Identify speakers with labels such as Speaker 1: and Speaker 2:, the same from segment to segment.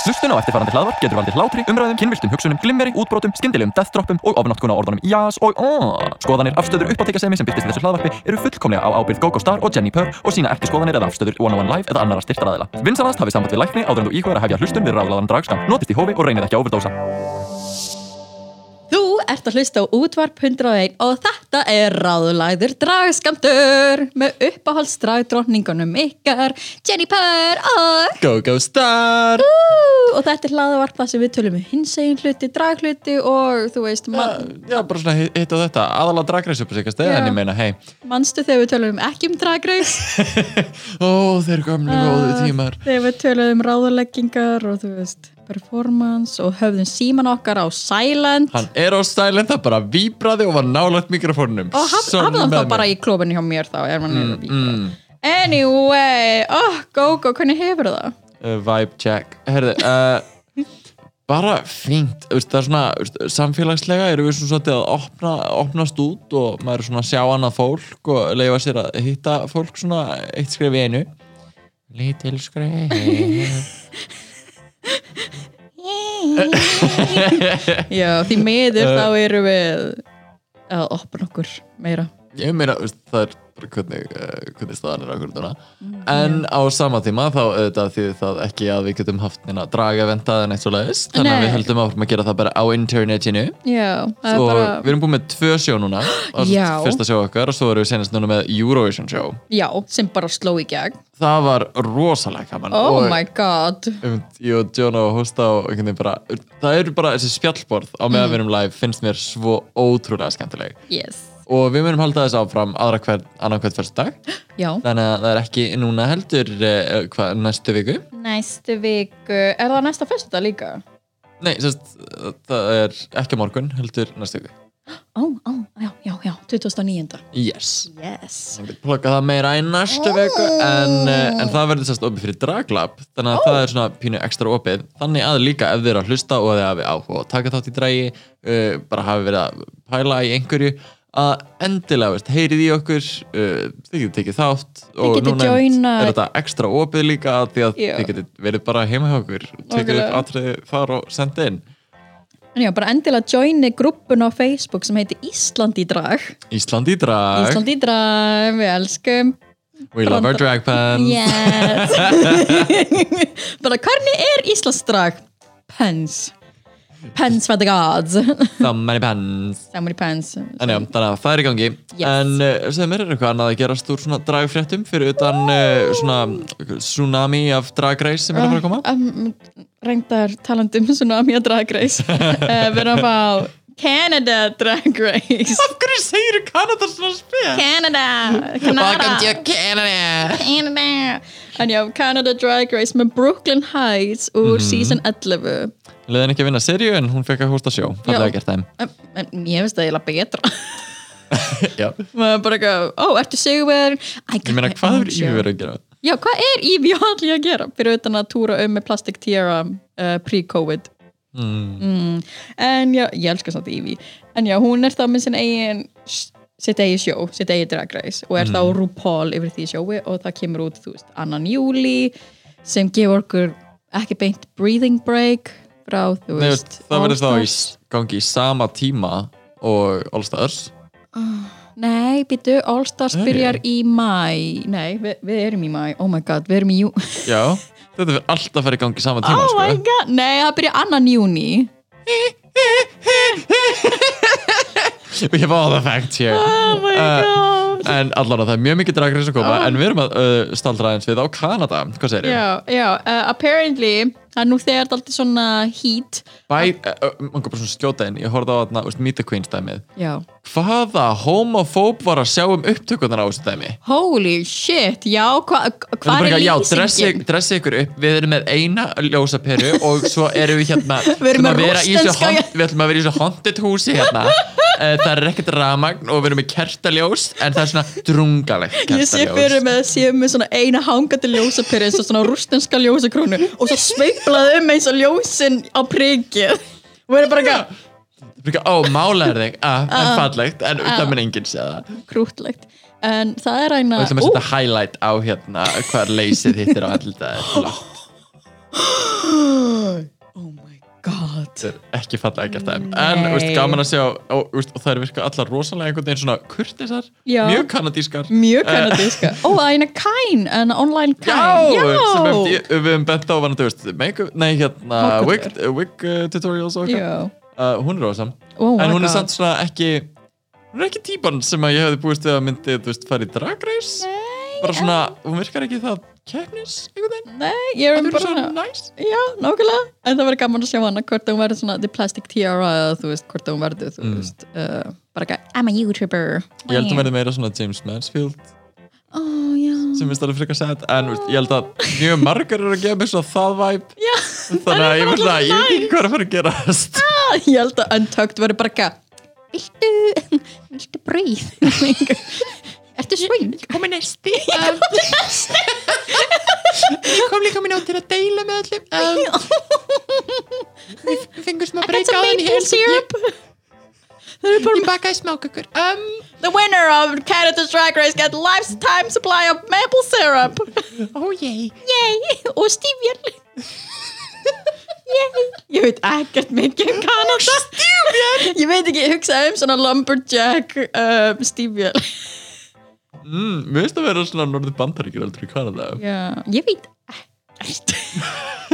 Speaker 1: Hlustun á eftirfarandi hlaðvarp getur valdið hlátri, umræðum, kynviltum hugsunum, glimmeri, útbrotum, skyndilegum deathtroppum og ofnáttkun á orðunum jás og aaaah. Skoðanir, afstöður, uppáttekasemi sem byrtist í þessu hlaðvarpi eru fullkomlega á ábyrgð GoGo Star og Jenni Purr og sína ekki skoðanir eða afstöður One on One Live eða annara styrtaraðila. Vinsanast hafið samband við lækni áður en þú íhugar að hefja hlustun við ráðlaðan dragskam. Notist í hófi og reynið ekki að overdósa.
Speaker 2: Þú ert að hlusta á útvarp 101 og þetta er ráðulæður dragskamtur með uppáhaldsdragdrottningunum ykkar Jennifer og
Speaker 1: GoGo Star!
Speaker 2: Ú, og þetta er hlaðavarp það sem við tölum um hinsegin hluti, draghluti og þú veist, man,
Speaker 1: Ah, Já, bara svona hitt og þetta, aðalega dragreis upp sikast,
Speaker 2: en ég
Speaker 1: meina, hei,
Speaker 2: manstu þegar við tölum ekki um dragreis
Speaker 1: ó, þeir gömlu
Speaker 2: Ah. þegar við tölum um ráðuleggingar og þú veist, performance og höfðum síman okkar á silent
Speaker 1: Hann er á stælinn, það bara víbraði og var nálægt mikrofónum.
Speaker 2: og haf, hafðan þá bara í klófinu hjá mér þá er mann mm, anyway, oh, Gogo, hvernig hefur það?
Speaker 1: Uh, vibe check. Herði, uh, bara fínt. Þú Veist, það er svona, þú veist, samfélagslega erum við svona svolítið að opna, opnast út og maður er svona að sjá annað fólk og leifa sér að hitta fólk svona eitt skref í einu. Lítil skref.
Speaker 2: Já, því miður
Speaker 1: Eh,
Speaker 2: þá erum við að opna okkur meira
Speaker 1: Ég meina, þú veist, það er bara hvernig, uh, hvernig staðan er akkur núna. En á sama tíma þá auðvitað því það ekki að við getum haft neina dragaventað en eitt svo leiðis. Þannig að
Speaker 2: Nei.
Speaker 1: við heldum áfram að gera það bara á internetinu.
Speaker 2: Já, það er
Speaker 1: og við
Speaker 2: bara
Speaker 1: erum búin með tvö sjó núna og svo
Speaker 2: Já.
Speaker 1: fyrsta sjó okkar og svo erum við senast núna með Eurovision sjó
Speaker 2: Já, sem bara sló í gegn
Speaker 1: það var rosalega gaman
Speaker 2: Oh
Speaker 1: og
Speaker 2: my god
Speaker 1: um, ég og John og Hosta og einhvern veginn bara það eru bara þessi spjallborð á
Speaker 2: Mm.
Speaker 1: meðan við erum live finnst mér svo ótrúlega skemmtileg
Speaker 2: Yes
Speaker 1: og við munum halda þess áfram aðra hver, annan hvert fyrsta dag
Speaker 2: Já
Speaker 1: þannig að það er ekki núna heldur eh, hva, næstu viku
Speaker 2: Næstu viku, er það næsta fyrsta líka?
Speaker 1: nei, sérst, það er ekki á morgun heldur næstu viku
Speaker 2: Ó, ó, já, já, já, 2009
Speaker 1: yes
Speaker 2: Yes
Speaker 1: Ég get plugga það meira í næstu viku en, eh, en það verður sérst opið fyrir draglab þannig að það er svona pínu ekstra opið þannig að líka ef þið eru að hlusta og þið hafi áhuga og taka þátt í dragi uh, bara hafi verið að pæla í einhverju að endilega veist, heyrið í okkur uh, þið getið tekið þátt og
Speaker 2: getið
Speaker 1: núna
Speaker 2: joinað.
Speaker 1: er þetta ekstra opið líka því að
Speaker 2: Já.
Speaker 1: þið getið verið bara heima hjá okkur tekið upp
Speaker 2: Nákvæmlega.
Speaker 1: atriði þar og senda inn
Speaker 2: En já, bara endilega joini grúppun á Facebook sem heitir Ísland í drag
Speaker 1: Ísland í drag,
Speaker 2: Ísland í drag, við elskum
Speaker 1: we love our drag pants
Speaker 2: Yes Bara hvernig er Íslandsdrag? Pens Pens for the gods
Speaker 1: the many pants
Speaker 2: Samur í pens
Speaker 1: En já, þannig að það er í gangi
Speaker 2: Yes.
Speaker 1: En uh, segðu mér, er eitthvað annað að gerast úr svona dragfréttum fyrir utan uh, svona tsunami af dragreis sem er að fara að koma?
Speaker 2: um, Reyndar talandi um tsunami að drag race uh, Við erum að fá Canada drag race
Speaker 1: Af hverju segir Kanada svona spil?
Speaker 2: Canada Canada
Speaker 1: Canada
Speaker 2: Canada En já, Canada drag race með Brooklyn Heights úr
Speaker 1: Mhm.
Speaker 2: season 11
Speaker 1: Leðin ekki að vinna serju en hún fekk að hósta sjó Það er
Speaker 2: Já.
Speaker 1: að gert þeim
Speaker 2: um, En ég finnst það eiginlega betra
Speaker 1: Já.
Speaker 2: Maður er bara eitthvað, ó, ertu sigurverðin
Speaker 1: Ég meina, hvað er yfir að gera?
Speaker 2: Já, hvað er Evie Hartley að gera fyrir utan að túra um með Plastic Tiara uh, pre-COVID? Mm. En já, ég elska samt Evie. En já, hún er þá með sinn eigin, sitt eigin sjó, sitt eigin Drag Race og er þá
Speaker 1: Mm.
Speaker 2: RuPaul yfir því sjói og það kemur út, þú veist, annan júli sem gefur okkur ekki beint breathing break frá, þú
Speaker 1: Nei,
Speaker 2: veist,
Speaker 1: veist, það verður þá í
Speaker 2: All-Stars.
Speaker 1: gangi í sama tíma og All Stars
Speaker 2: Nei, býtu, All Stars
Speaker 1: Nei.
Speaker 2: byrjar í mæ Nei, við, við erum í mæ, oh my god, við erum í jú
Speaker 1: Já, þetta fyrir alltaf að fara í gangi í sama tíma
Speaker 2: Oh my
Speaker 1: sko.
Speaker 2: god, nei, það byrja annan júni
Speaker 1: We have all the facts here Eh,
Speaker 2: Oh my
Speaker 1: Uh,
Speaker 2: god
Speaker 1: En allan það er mjög mikið dragreis að koma En við erum að uh, staldra eins við á Kanada Hvað segir ég?
Speaker 2: Ah. Já, já, uh, apparently það er nú þegar þetta alltaf svona heat
Speaker 1: Bæ, uh, mann kom bara svona að skjóta inn Ég horfði á þarna, veist, Meet the Queen stæmið
Speaker 2: Já
Speaker 1: Hvaða homofób var að sjá um upptökurnar á þessu dæmi?
Speaker 2: Holy shit, já, hvað hva
Speaker 1: Þetta
Speaker 2: hvar
Speaker 1: bara
Speaker 2: er
Speaker 1: eitthvað, Já,
Speaker 2: lýsingin?
Speaker 1: dressi, dressi ykkur upp, við erum með eina ljósa peru og svo erum við hérna Við
Speaker 2: erum með
Speaker 1: að vera í þessu
Speaker 2: rússneska-
Speaker 1: hond- Við ætlum að vera í þessu haunted húsi hérna Eh, Það er ekkert ramagn og við erum með kertaljós En það er svona drungalegt
Speaker 2: Ég
Speaker 1: kertaljós
Speaker 2: sé fyrir með að séu með svona eina hangandi ljósapyrir eins og svona rústenska ljósakrónu og svo sveiplaði um eins og ljósin á prikið og verður bara eitthvað
Speaker 1: Fyrir, Ó, málaður þig, ah, en fallegt En
Speaker 2: Ah.
Speaker 1: það minn enginn sé það
Speaker 2: krútlegt en það er
Speaker 1: Við
Speaker 2: ræna
Speaker 1: ætlum að setja highlight á hérna hvað leysið hittir á alltaf
Speaker 2: oh my god
Speaker 1: þetta er ekki fallega gert þeim en
Speaker 2: Nei.
Speaker 1: úst, gaman að sjá og, úst, og það er virkað allar rosalega einhvern veginn svona kurtisar,
Speaker 2: Já. Mm.
Speaker 1: mjög kanadískar
Speaker 2: mjög kanadíska ó, að eina kæn, en online kæn
Speaker 1: Já, sem við, við höfum bent á varandi, veist, make-up, nei hérna
Speaker 2: Hákondur.
Speaker 1: wig, wig uh, tutorials og eitthvað
Speaker 2: já
Speaker 1: uh, hún er rosam,
Speaker 2: Oh my
Speaker 1: en hún
Speaker 2: God.
Speaker 1: er samt svona ekki hún er ekki típan sem að ég hefði búist við að myndi, þú veist, fara í drag race bara svona, hún virkar ekki það keppnis, einhvern veginn,
Speaker 2: Nei, ég
Speaker 1: það
Speaker 2: er bara
Speaker 1: verður svo
Speaker 2: svona
Speaker 1: næs
Speaker 2: Já, nákvæmlega, en það verður gaman að sjá hana hvort að hún verður svona the plastic tiara eða þú veist, hvort að hún verður, þú veist uh, bara ekki, I'm a YouTuber
Speaker 1: Mm. ég held að hún verði meira svona James Mansfield
Speaker 2: Ó, já
Speaker 1: sem finnst alveg frekar sett en veist, ég held að mjög margar eru að gefa mér svona það væp
Speaker 2: Já,
Speaker 1: þannig að ég veit
Speaker 2: bara
Speaker 1: að ég veit ekki
Speaker 2: alltaf
Speaker 1: hvað er að fara að gerast
Speaker 2: næs. Ég held að Untucked verður bara ekki Viltu, viltu brauð? Ertu svein?
Speaker 1: komið næsti ég kom líka minn á til að deila með öllum um, við fengum smá
Speaker 2: That's a maple syrup Það er bara
Speaker 1: bakaði smákökur um,
Speaker 2: The winner of Canada's Drag Race get lifetime supply of maple syrup
Speaker 1: oh yay
Speaker 2: Yay, og stífjöl Yay Ég veit ekkert mikið um Kanada Stífjöl Ég veit ekki, ég hugsaði um svona lumberjack um, stífjöl
Speaker 1: mm, mér finnst að vera svona norður bandaríkir aldrei í Kanada
Speaker 2: Já, ég veit ekkert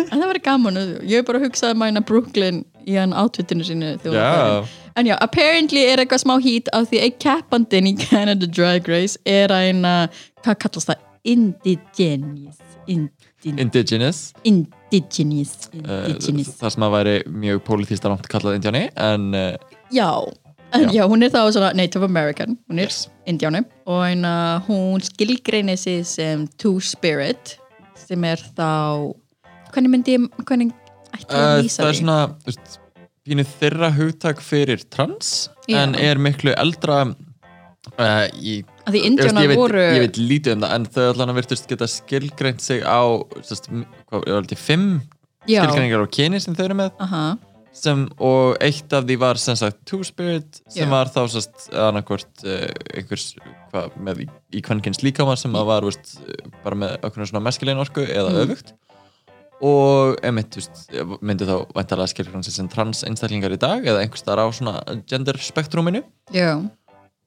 Speaker 2: En það var gaman Ég hef bara hugsaði mæna Brooklyn í hann átvittinu sínu þegar hún var
Speaker 1: Já.
Speaker 2: farin. En já, apparently er eitthvað smá hít á því að keppandinn í Canada Drag Race er að eina, hvað kallast það? Indigenous Indigenous
Speaker 1: indigenous
Speaker 2: Indigenous,
Speaker 1: uh,
Speaker 2: indigenous.
Speaker 1: það sem að væri mjög pólitísta langt kallað indjáni en uh,
Speaker 2: Já, en já.
Speaker 1: Já.
Speaker 2: hún er þá svona Native American, hún er
Speaker 1: Yes.
Speaker 2: indjáni og en, uh, hún skilgreinir sig sem Two-Spirit sem er þá hvernig myndi, ég- hvernig ætti ég
Speaker 1: Uh,
Speaker 2: að lýsa
Speaker 1: það er
Speaker 2: því?
Speaker 1: svona þú veist, pínu þeirra hugtak fyrir trans
Speaker 2: Já.
Speaker 1: en er miklu eldra uh, í Ég
Speaker 2: Af því
Speaker 1: veist,
Speaker 2: indjánar
Speaker 1: ég veit,
Speaker 2: voru
Speaker 1: ég veit lítið um það en þau allan að virtust geta skilgreint sig á sest, hvað, ég var til fimm
Speaker 2: já,
Speaker 1: skilgreiningar á kyni sem þau eru með
Speaker 2: aha,
Speaker 1: sem, og eitt af því var sem sagt Two Spirit sem
Speaker 2: Já.
Speaker 1: var þá sest, annarkvort uh, einhvers hva, með, í, í kvennkins líkama sem að var veist, eh, bara með okkur svona meskilegin orku eða
Speaker 2: Mm.
Speaker 1: öfugt og emitt veist, eh, myndi þá væntalega skilgreint sig sem trans einstaklingar í dag eða einhvers þar á svona gender spektruminu
Speaker 2: já,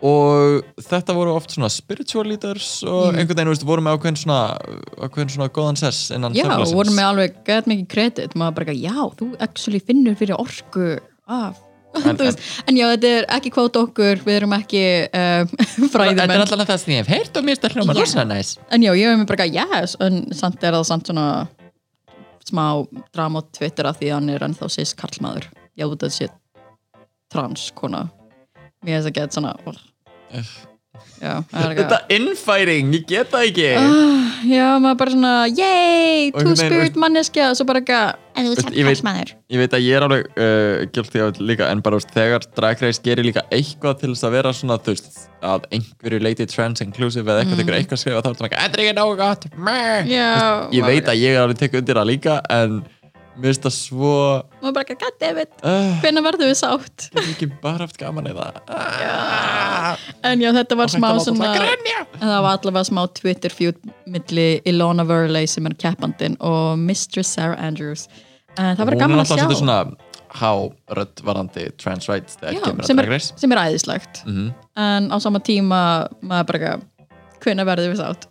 Speaker 1: og þetta voru oft svona spiritual leaders og
Speaker 2: Mm.
Speaker 1: einhvern veginn, veist, voru með ákveðin svona ákveðin svona góðan sess innan
Speaker 2: já,
Speaker 1: samfélagsins.
Speaker 2: voru með alveg gett mikið kredit, maður bara ekki, já, þú actually finnur fyrir orku af
Speaker 1: En-
Speaker 2: en, veist, en já, þetta er ekki kvót okkur, við erum ekki um, fræðimenn
Speaker 1: Þetta er allan að það sem ég hef heyrt og mér stað hljóma
Speaker 2: Já.
Speaker 1: rosa næs
Speaker 2: En já, ég hef mér bara ekki að yes, en samt er það samt svona smá drama á Twitter af því að hann er ennþá sís karlmaður. Já, þetta sé trans kona. Mér hefði það gett svona, oh, já, það er
Speaker 1: Eh. Þetta
Speaker 2: ekki
Speaker 1: innfæring, ég get það ekki
Speaker 2: Ah, já, maður bara svona,
Speaker 1: Og
Speaker 2: yay,
Speaker 1: einhvern veginn,
Speaker 2: two-spirit
Speaker 1: veist-
Speaker 2: manneskja, og svo bara ekki,
Speaker 3: En þú ert
Speaker 1: Veist, ég veit-
Speaker 3: karlmaður.
Speaker 1: Ég veit að ég er alveg uh, guilty af þetta líka en bara veist, þegar Drag Race gerir líka eitthvað til þess að vera svona þú veist að einhverju leiti trans inclusive eða eitthvað mm. eitthvað skrifa þá er þetta ekki Þetta er ekki nógu gott Meh.
Speaker 2: já,
Speaker 1: Ég veit að ég er alveg tekið undir það líka en mér finnst það svo
Speaker 2: maður bara ekki, god damn it,
Speaker 1: uh,
Speaker 2: hvenær verðum við sátt?
Speaker 1: Getur ekki bara haft gaman í það Ah.
Speaker 2: En já, þetta var smá svona...
Speaker 1: grænja
Speaker 2: En það var allavega smá Twitter feud milli Ilona Verley sem er keppandinn og Mistress Sarah Andrews en það var gaman að sjá
Speaker 1: Hún er alltaf svolítið svona hárödd varandi trans rights þegar
Speaker 2: já,
Speaker 1: kemur að
Speaker 2: sem,
Speaker 1: Drag
Speaker 2: er,
Speaker 1: Race
Speaker 2: sem er æðislegt
Speaker 1: Mhm.
Speaker 2: en á sama tíma maður bara ekki hvenær verður við sátt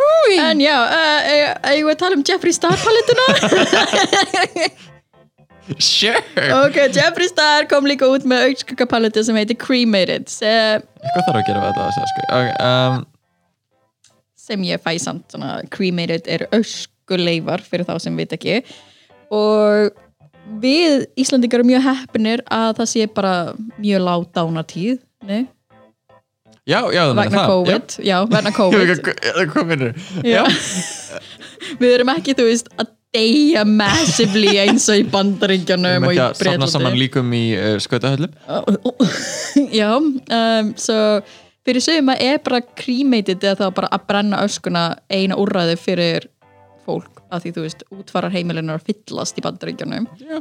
Speaker 2: Húi. En já, uh, eigum við að tala um Jeffree Star palettuna?
Speaker 1: Sure!
Speaker 2: ok, Jeffree Star kom líka út með augskaka palettu sem heitir Cremated sem,
Speaker 1: Eitthvað þarf að gera við þetta að segja sko okay, um,
Speaker 2: sem ég fæ samt svona, cremated er öskuleifar fyrir þá sem veit ekki og við Íslandingar erum mjög heppinir að það sé bara mjög lág dánatíð nei,
Speaker 1: Já, já, það meina
Speaker 2: vegna
Speaker 1: það
Speaker 2: COVID já, vegna
Speaker 1: COVID
Speaker 2: COVID
Speaker 1: Hvað minnur?
Speaker 2: Já.
Speaker 1: Já,
Speaker 2: við erum ekki, þú veist, að deyja massively eins og í
Speaker 1: við
Speaker 2: bandaríkjanum
Speaker 1: erum
Speaker 2: og
Speaker 1: ekki
Speaker 2: í
Speaker 1: að safna saman
Speaker 2: Bretlandi
Speaker 1: líkum í uh, skautahöllum
Speaker 2: já, um, svo fyrir sögum að er bara cremated eða þá bara að brenna öskuna eina úrræði fyrir fólk af því þú veist, útfarar heimilinu að fyllast í bandaríkjanum
Speaker 1: Já.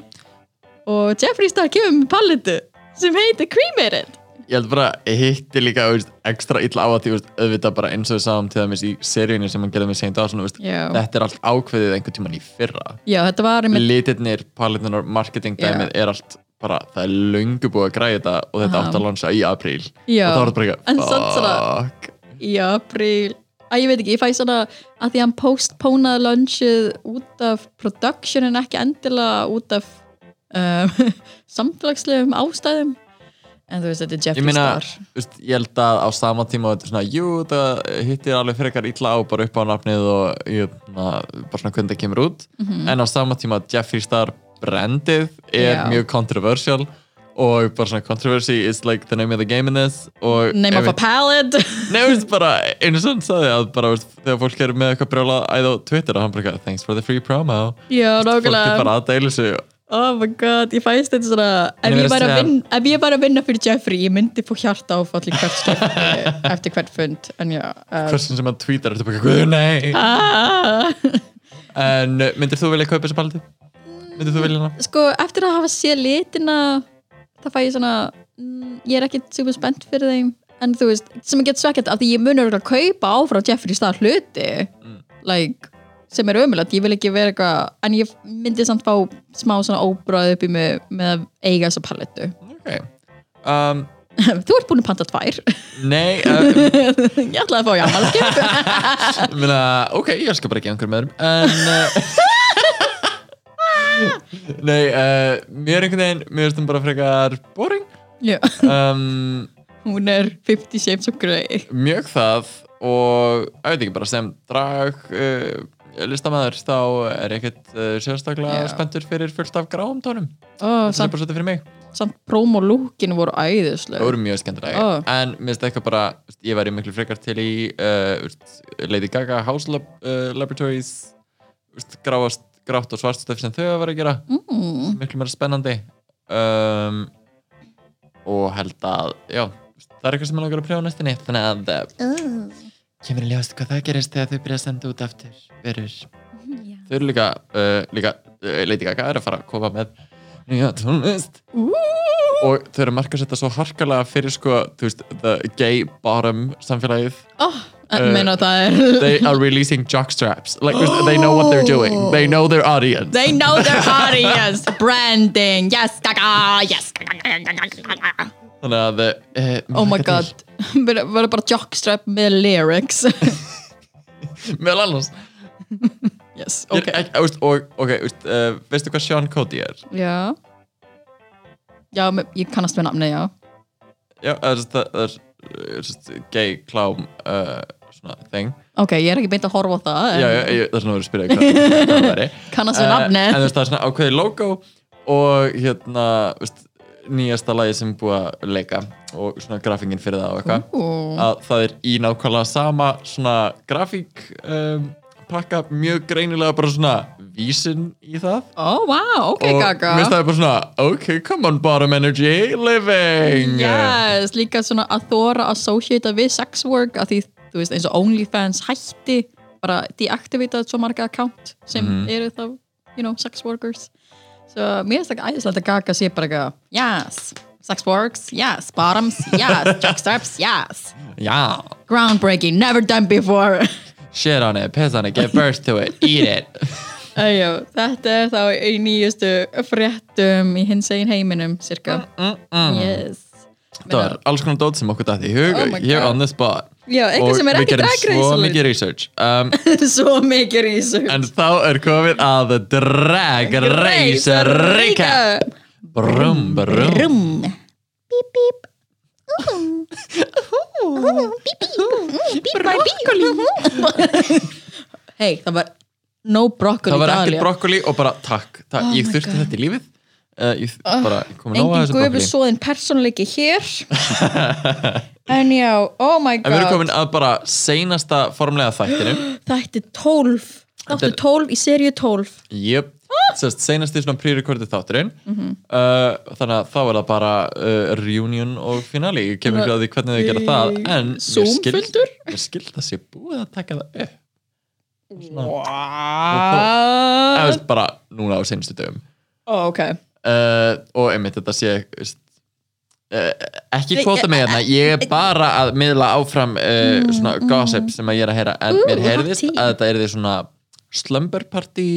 Speaker 2: og Jeffrey Star kemur með paletu sem heitir cremated
Speaker 1: ég held bara hitti líka þú veist, ekstra illa á að því þú veist, auðvitað bara eins og við sáum til dæmis í seríunni sem hann gerði með seint á svona, þú veist,
Speaker 2: Já.
Speaker 1: þetta er allt ákveðið einhvern tíman í fyrra
Speaker 2: Já, þetta var einmitt
Speaker 1: litirnir, paletnirnar, marketing
Speaker 2: Já.
Speaker 1: dæmið er allt bara, það er löngu búið að græja þetta og þetta
Speaker 2: Aha.
Speaker 1: átt að lansa í apríl og
Speaker 2: Já.
Speaker 1: það var bara
Speaker 2: En samt svona-
Speaker 1: eitthvað fuck
Speaker 2: í apríl að ég veit ekki, ég fæ svona að því að hann postpónaði lunchið út af production en ekki endilega út af um, samfélagslegum ástæðum en þú veist, þetta er
Speaker 1: Ég
Speaker 2: Jeffree
Speaker 1: meina,
Speaker 2: Star
Speaker 1: þú veist, ég held að á sama tíma þetta er svona, jú, það hittir alveg frekar illa á bara upp á nafnið og jöfna, bara svona hvernig það kemur út en á sama tíma Jeffree Star brandið er
Speaker 2: Mhm. Já.
Speaker 1: mjög controversial og bara svona controversy is like the name of the game in this og
Speaker 2: Name of a
Speaker 1: einmitt-
Speaker 2: palette
Speaker 1: Nei, þú veist, bara eins og hann sagði að bara, þú veist, þegar fólk er með eitthvað brjóla æða á Twitter og hann bara, eitthvað, thanks for the free promo
Speaker 2: Já,
Speaker 1: fólk er
Speaker 2: nákvæmlega
Speaker 1: bara að deila þessu
Speaker 2: Oh my god, ég fæst þetta svona
Speaker 1: Ég
Speaker 2: ef
Speaker 1: verð að
Speaker 2: ég, væri að
Speaker 1: segja-
Speaker 2: vinna, ef ég var að vinna fyrir Jeffrey, ég myndi fór hjarta áfall í hvert stund eftir hvert fund en já uh,
Speaker 1: hversin sem hann tweetar, þetta er bara, guð, nei
Speaker 2: ah.
Speaker 1: en uh, myndir þú vilja kaupa þessu paldi? myndir þú vilja hana?
Speaker 2: sko, eftir að hafa séð litina það fæ ég svona mm, ég er ekkit super spennt fyrir þeim en þú veist, sem ég get svekkjart af því ég munur að kaupa áfrá Jeffrey Star hluti
Speaker 1: Mm.
Speaker 2: like, sem er ömulegt ég vil ekki vera eitthvað, en ég myndi samt fá smá svona óbráð upp í mig með að eiga þessa palettu
Speaker 1: Ok um,
Speaker 2: þú ert búin að panta tvær
Speaker 1: Nei, uh,
Speaker 2: ég ætlaði að fá jámalskip
Speaker 1: minna, ok, ég skal bara ekki einhverjum öðrum En uh, Nei, uh, mér einhvern veginn, mér finnst hún bara frekar boring
Speaker 2: Já.
Speaker 1: um,
Speaker 2: hún er 50 shapes of grey
Speaker 1: Mjög það og, ég veit ekki, bara sem drag uh, listamæður þá er ég ekkert uh, sérstaklega
Speaker 2: Já.
Speaker 1: spenntur fyrir fullt af gráum tónum
Speaker 2: oh,
Speaker 1: Það er
Speaker 2: samt,
Speaker 1: bara svolítið fyrir mig
Speaker 2: samt promo lookin voru æðislega
Speaker 1: Það voru mjög skemmtilega
Speaker 2: Ó.
Speaker 1: En mér finnst eitthvað bara, þú veist, ég væri miklu frekar til í uh, úst, Lady Gaga House Lab, uh, Laboratories úst, gráast, grátt og svart stöf sem þau hafa verið að gera
Speaker 2: mm.
Speaker 1: miklu meira spennandi um, og held að já, þú veist, það er eitthvað sem ég langar að prjóða næstinni þannig að uh, kemur í ljóst hvað það gerist þegar þau byrja að senda út aftur verur þau eru líka, uh, líka uh, Lady Gaga er að fara að koma með nýja tónlist og þau eru markast þetta svo harkalega fyrir sko, þú veist, the gay bottom samfélagið
Speaker 2: oh,
Speaker 1: Eh,
Speaker 2: en meina það er
Speaker 1: they are releasing jockstraps like, they know what they're
Speaker 2: Oh.
Speaker 1: doing, they know their audience
Speaker 2: They know their audience. Branding. Yes, gaga. Yes.
Speaker 1: þannig að uh,
Speaker 2: Oh my god. Við verðum bara jockstrap með lyrics.
Speaker 1: meðal annars
Speaker 2: Yes,
Speaker 1: Ég
Speaker 2: ok.
Speaker 1: er ekki, úst, og, ok, úst, uh, veistu hvað Sean Cody er?
Speaker 2: Já. Já, me- ég kannast við nafni, já.
Speaker 1: Já, það er- það er uh, sest, gay klám uh, svona thing
Speaker 2: Ok, ég er ekki beint að horfa á það. en
Speaker 1: já, já, ég, það er svona að vera að spyrja hvað hvað það væri
Speaker 2: Kannast við
Speaker 1: Eh,
Speaker 2: nafni.
Speaker 1: en þú veist það er svona ákveðið logo og hérna veist, nýjasta lagi sem er búið að leika og svona grafingin fyrir það og eitthvað
Speaker 2: Ú,
Speaker 1: að það er í nákvæmlega sama svona grafík um, pakka mjög greinilega bara svona vísin í það
Speaker 2: Ó, vá, ok,
Speaker 1: og
Speaker 2: gaga.
Speaker 1: mér staði bara svona ok, come on bottom energy, living
Speaker 2: Yes, líka svona að þóra að associata við sex work að því, þú veist, eins og OnlyFans hætti bara deactivatað svo marga account sem
Speaker 1: Mhm.
Speaker 2: eru þá, you know, sex workers svo mér finnst ekki æðislega að Gaga sé bara eitthvað, yes, sex works yes, bottoms, yes, jockstraps yes,
Speaker 1: Já,
Speaker 2: groundbreaking never done before
Speaker 1: shit on it, piss on it, give birth to it, eat it
Speaker 2: Æjó, þetta er þá í nýjustu fréttum í hins einn heiminum, cirka
Speaker 1: mm, mm.
Speaker 2: yes
Speaker 1: Það var alls konar dót sem okkur dætti í hug
Speaker 2: Oh my
Speaker 1: Here
Speaker 2: God.
Speaker 1: on the spot
Speaker 2: Já, eitthvað sem er
Speaker 1: við
Speaker 2: ekki
Speaker 1: gerum svo
Speaker 2: dragreisalaut.
Speaker 1: mikið research um,
Speaker 2: svo mikið research
Speaker 1: En þá er komið að the drag race recap Brum, brum
Speaker 2: Brum Bíp, bíp Bíp, bíp Bíp, bíp Hei, það var No broccoli
Speaker 1: Það var
Speaker 2: Dahlia.
Speaker 1: ekkert brokkoli og bara takk, takk.
Speaker 2: Oh
Speaker 1: Ég
Speaker 2: my
Speaker 1: þurfti
Speaker 2: God.
Speaker 1: þetta í lífið uh, Ég
Speaker 2: Ah,
Speaker 1: uh, bara komið nóg að
Speaker 2: Engin
Speaker 1: þessu brokkoli
Speaker 2: gufusoðin persónuleiki hér En já, oh my
Speaker 1: En við erum
Speaker 2: god
Speaker 1: komin að bara seinasta formlega þættinu
Speaker 2: Þætti tólf Þáttu
Speaker 1: Þetta er-
Speaker 2: tólf í seríu tólf
Speaker 1: Jöp, sérst seinasti svona pre-recordið þátturinn
Speaker 2: Mhm.
Speaker 1: uh, Þannig að þá er það bara uh, reunion og finale Ég kemur ekki að því hvernig þau gera það
Speaker 2: Í
Speaker 1: En mér
Speaker 2: Zoom-fundur?
Speaker 1: skilst- Mér skild að sé búið að taka það upp Það
Speaker 2: Wow
Speaker 1: veist bara núna á seinustu dögum
Speaker 2: Ó, Oh, ok
Speaker 1: Eh, uh, Og einmitt þetta sé veist, ekki kvóta mig hérna, ég er bara að miðla áfram
Speaker 2: Mm,
Speaker 1: uh, svona gossip sem að ég er að heyra en mér heyrðist
Speaker 2: hot tea.
Speaker 1: að þetta er því svona slumber party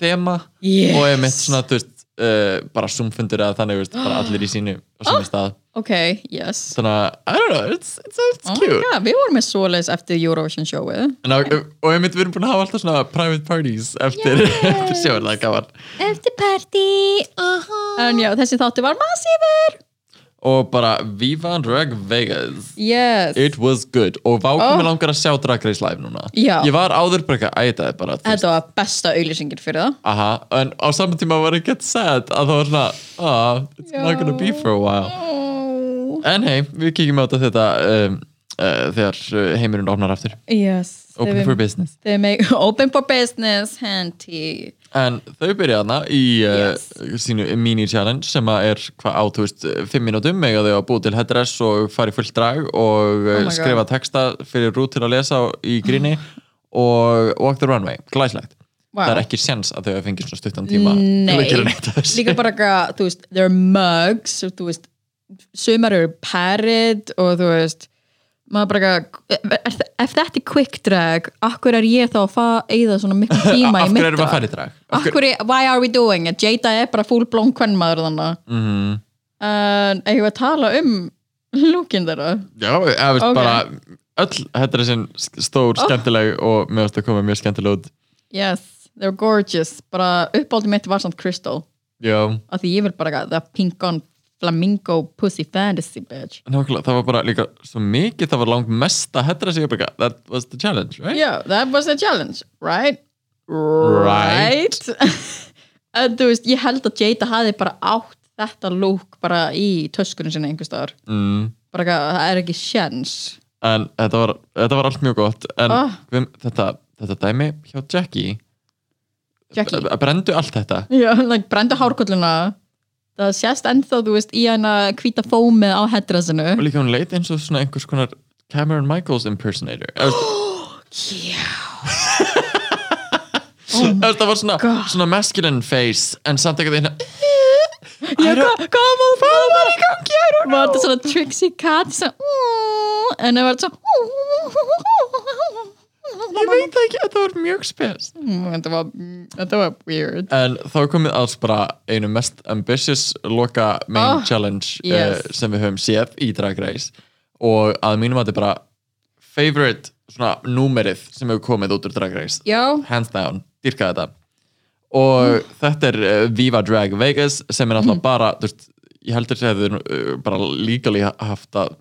Speaker 1: þema
Speaker 2: Yes.
Speaker 1: og ég mitt svona, þú veist, uh, bara zoomfundur eða þannig, þú veist, bara allir í sínu á
Speaker 2: Oh.
Speaker 1: sínum stað,
Speaker 2: ok, yes
Speaker 1: þannig að, I don't know, it's, it's, it's
Speaker 2: oh my
Speaker 1: cute
Speaker 2: God, við vorum með svoleiðis eftir Eurovision showið
Speaker 1: En á, og ég mitt, við erum búin að hafa alltaf svona private parties eftir, eftir sjóður, það er gaman
Speaker 2: Eftir party uh -huh. En já, þessi þáttu var massífur
Speaker 1: og bara Viva and Rug Vegas
Speaker 2: Yes
Speaker 1: It was good og
Speaker 2: Oh.
Speaker 1: vákum oh. langar að sjá Drag Race live núna
Speaker 2: Já.
Speaker 1: ég var áður bara ekki að æta það er bara þú veist,
Speaker 2: Þetta var besta auðlýsingin fyrir það
Speaker 1: aha, en á saman tíma var ég gett sad að það var svona ah, it's not gonna be for a while
Speaker 2: oh.
Speaker 1: en hei, við kíkjum á þetta þetta um, uh, þegar uh, heimurinn opnar aftur
Speaker 2: Yes
Speaker 1: open for business
Speaker 2: They make open for business handy
Speaker 1: en þau byrja hana í uh,
Speaker 2: Yes.
Speaker 1: sínu mini-challenge sem að er hvað á, þú veist, fimm mínútum mega þau að búi til headdress og fara í fullt drag og
Speaker 2: Oh
Speaker 1: oh
Speaker 2: my
Speaker 1: skrifa
Speaker 2: God.
Speaker 1: texta fyrir rút til að lesa á- í gríni og walk the runway, glæslegt
Speaker 2: Vá.
Speaker 1: það er ekki sens að þau hafa fengið svona stuttan tíma til að gera neitt af þessu.
Speaker 2: líka bara eitthvað, þú veist, there are mugs og þú veist, sumar eru parrot og þú veist maður bara eitthvað, er- ef þetta er quick drag, akkur er ég þá að fa- eyða svona miklu tíma í
Speaker 1: af
Speaker 2: mitt
Speaker 1: hverju erum við að
Speaker 2: drag?
Speaker 1: fara í drag
Speaker 2: af hverju, why are we doing it Jada er bara full blown kvennmaður þannig
Speaker 1: mm -hmm.
Speaker 2: en eigum við að tala um lúkin þeirra
Speaker 1: já, eða veist
Speaker 2: Ok. Oh.
Speaker 1: bara öll þetta er þessin stór, skemmtileg og meðast að koma mjög skemmtileg út
Speaker 2: yes, they're gorgeous bara uppáldi mitt var samt Crystal
Speaker 1: já,
Speaker 2: af því ég vil bara eitthvað, the pink on flamingo pussy fantasy bitch
Speaker 1: Nákvæmlega, það var bara líka svo mikið, það var langt mesta hetra sig uppbyggja, that was the challenge, right?
Speaker 2: yeah, that was a challenge, right?
Speaker 1: Right.
Speaker 2: en þú veist, ég held að Jada hafi bara átt þetta lúk bara í töskunum sinni einhver staðar
Speaker 1: Mm.
Speaker 2: bara eitthvað, það er ekki sjens
Speaker 1: En þetta var, þetta var allt mjög gott, en
Speaker 2: Ah.
Speaker 1: hvem, þetta, þetta dæmi hjá Jackie,
Speaker 2: Jackie
Speaker 1: b- brendu allt þetta.
Speaker 2: Já, like, brendu hárkolluna það sést ennþá, þú veist, í hana hvíta fómið á
Speaker 1: Og
Speaker 2: hedrasinu
Speaker 1: líka hún leit eins og svona einhvers konar Cameron Michaels impersonator. Eða, veist- eða, veist, það var svona,
Speaker 2: Oh God.
Speaker 1: svona masculine face, en samt ekkert einhvern veginn,
Speaker 2: Já, hvað hva var það var í gangi, I don't know Var þetta svona Trixie Cat sem, mm, en það var svona
Speaker 1: ég veit það ekki, þetta var mjög spes.
Speaker 2: Mm, Þetta var, þetta var weird
Speaker 1: En þá komið alls bara einu mest ambitious loka main
Speaker 2: Oh,
Speaker 1: challenge
Speaker 2: yes.
Speaker 1: uh, sem við höfum séð í Drag Race og að mínum að þetta er bara favorite svona númerið sem hefur komið út úr Drag Race
Speaker 2: Já,
Speaker 1: hands down, dyrka þetta og þetta er uh, Viva Drag Vegas sem er
Speaker 2: Mm.
Speaker 1: alltaf bara þú veist, ég heldur að þau uh, bara líkali haft að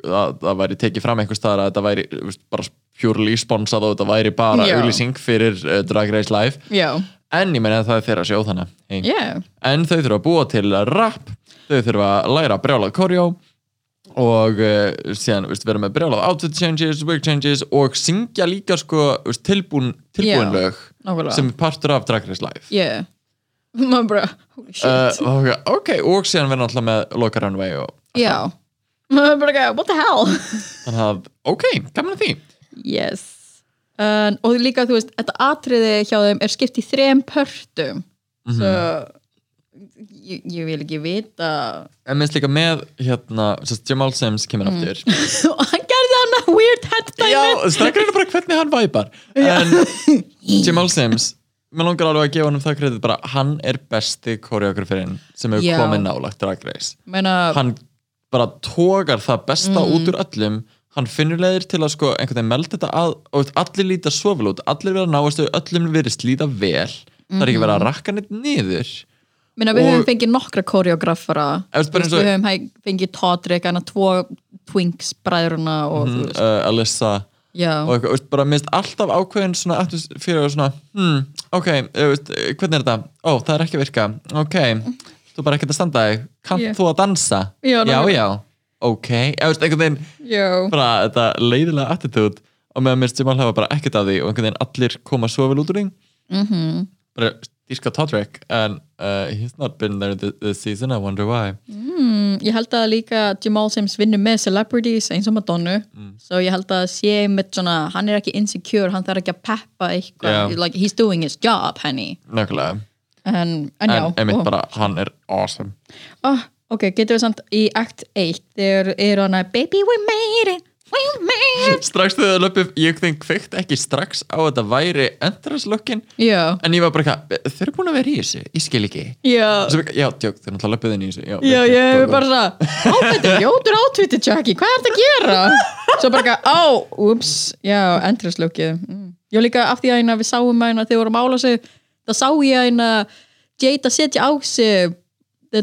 Speaker 1: að það væri tekið fram einhvers staðar að þetta væri þú veist, bara purely sponsað og þetta væri bara
Speaker 2: Já.
Speaker 1: auglýsing fyrir uh, Drag Race Live
Speaker 2: já,
Speaker 1: En ég meina að það er þeirra sjóð hana hey.
Speaker 2: yeah
Speaker 1: En þau þurfa að búa til rap Þau þurfa að læra að brjálað korjó Og uh, síðan veist, vera með brjálað outfit changes, wig changes Og syngja líka sko veist, tilbúin, tilbúin
Speaker 2: Já,
Speaker 1: lög
Speaker 2: nákvæmlega.
Speaker 1: Sem er partur af Drag Race Live
Speaker 2: Yeah Maður bara, holy shit
Speaker 1: uh, okay, ok, og síðan vera náttúrulega með Loka Runway og,
Speaker 2: Já Maður bara, eitthvað, what the hell
Speaker 1: Þannig að, ok, gaman að því
Speaker 2: Yes um, Og líka þú veist, þetta atriði hjá þeim er skipt í þrem pörtum
Speaker 1: Mhm.
Speaker 2: Svo ég, ég vil ekki vita
Speaker 1: En minnst líka með hérna sérst, Jamal Sims kemur
Speaker 2: Mm.
Speaker 1: aftur
Speaker 2: og hann gerði hann að weird headbang
Speaker 1: Já, strækkur er bara hvernig hann væpar En Jamal Sims Mér langar alveg að gefa hann það kredit bara Hann er besti koreografirinn sem hefur
Speaker 2: Já.
Speaker 1: komið nálagt Drag Race
Speaker 2: Meina,
Speaker 1: Hann bara tókar það besta út úr öllum Hann finnur leiðir til að sko einhvern veginn melda þetta að og allir líta svo vel út Allir vera náast og öllum virðist líta vel Það er ekki verið að rakka neitt niður
Speaker 2: meina við
Speaker 1: og-
Speaker 2: höfum fengið nokkra koreografara
Speaker 1: Ef þú bara eins og-
Speaker 2: Við höfum hæ- fengið Todrick, hann að tvo Twinks bræðurna og þú veist
Speaker 1: uh, Alyssa
Speaker 2: Já,
Speaker 1: og eitthvað, veist, bara minnst alltaf ákveðin svona atmosfíra og svona hmm, ok, eh, veist, eh, hvernig er þetta? Ó, það er ekki að virka, ok þú er bara ekkert að standa þig, kannt
Speaker 2: Já.
Speaker 1: þú að dansa?
Speaker 2: Já,
Speaker 1: já,
Speaker 2: nákvæmlega.
Speaker 1: ok eða veist, einhvern veginn,
Speaker 2: já
Speaker 1: bara þetta leiðilega attitude og meðan minnst sem alltaf bara ekkert að því og einhvern veginn allir koma svo vel út úr því
Speaker 2: Mhm.
Speaker 1: bara dýrka Todrick and uh, he's not been there this, this season, I wonder why
Speaker 2: Mm. Ég held að líka Jamal Sims vinnur með celebrities eins og Madonna svo ég held að sé með svona hann er ekki insecure, hann þarf ekki að peppa eitthvað,
Speaker 1: Já.
Speaker 2: like he's doing his job henni,
Speaker 1: nákvæmlega,
Speaker 2: en, en já
Speaker 1: en einmitt
Speaker 2: og-
Speaker 1: bara hann er awesome
Speaker 2: Ah, Ok, getur við samt í act 1 þegar eru hann að Baby we made it, we made it
Speaker 1: strax þegar það löpum, ég þeim kveikt ekki strax á að þetta væri endraslokkin
Speaker 2: Já,
Speaker 1: en ég var bara eitthvað, þau eru búin að vera í þessu ég skil ekki
Speaker 2: já
Speaker 1: Svo, já, tjók, þau náttúrulega löpuð inn í þessu já,
Speaker 2: Já,
Speaker 1: veistu,
Speaker 2: ég
Speaker 1: góð,
Speaker 2: er
Speaker 1: góð.
Speaker 2: bara svona Áfættu, ljótur átvíti Jackie, hvað er þetta að gera? Svo bara eitthvað, á, ups Já, endurislökið mm. Ég var líka af því að hérna við sáum hérna þegar við vorum að mála sig Það sá ég hérna Jade að setja á sig The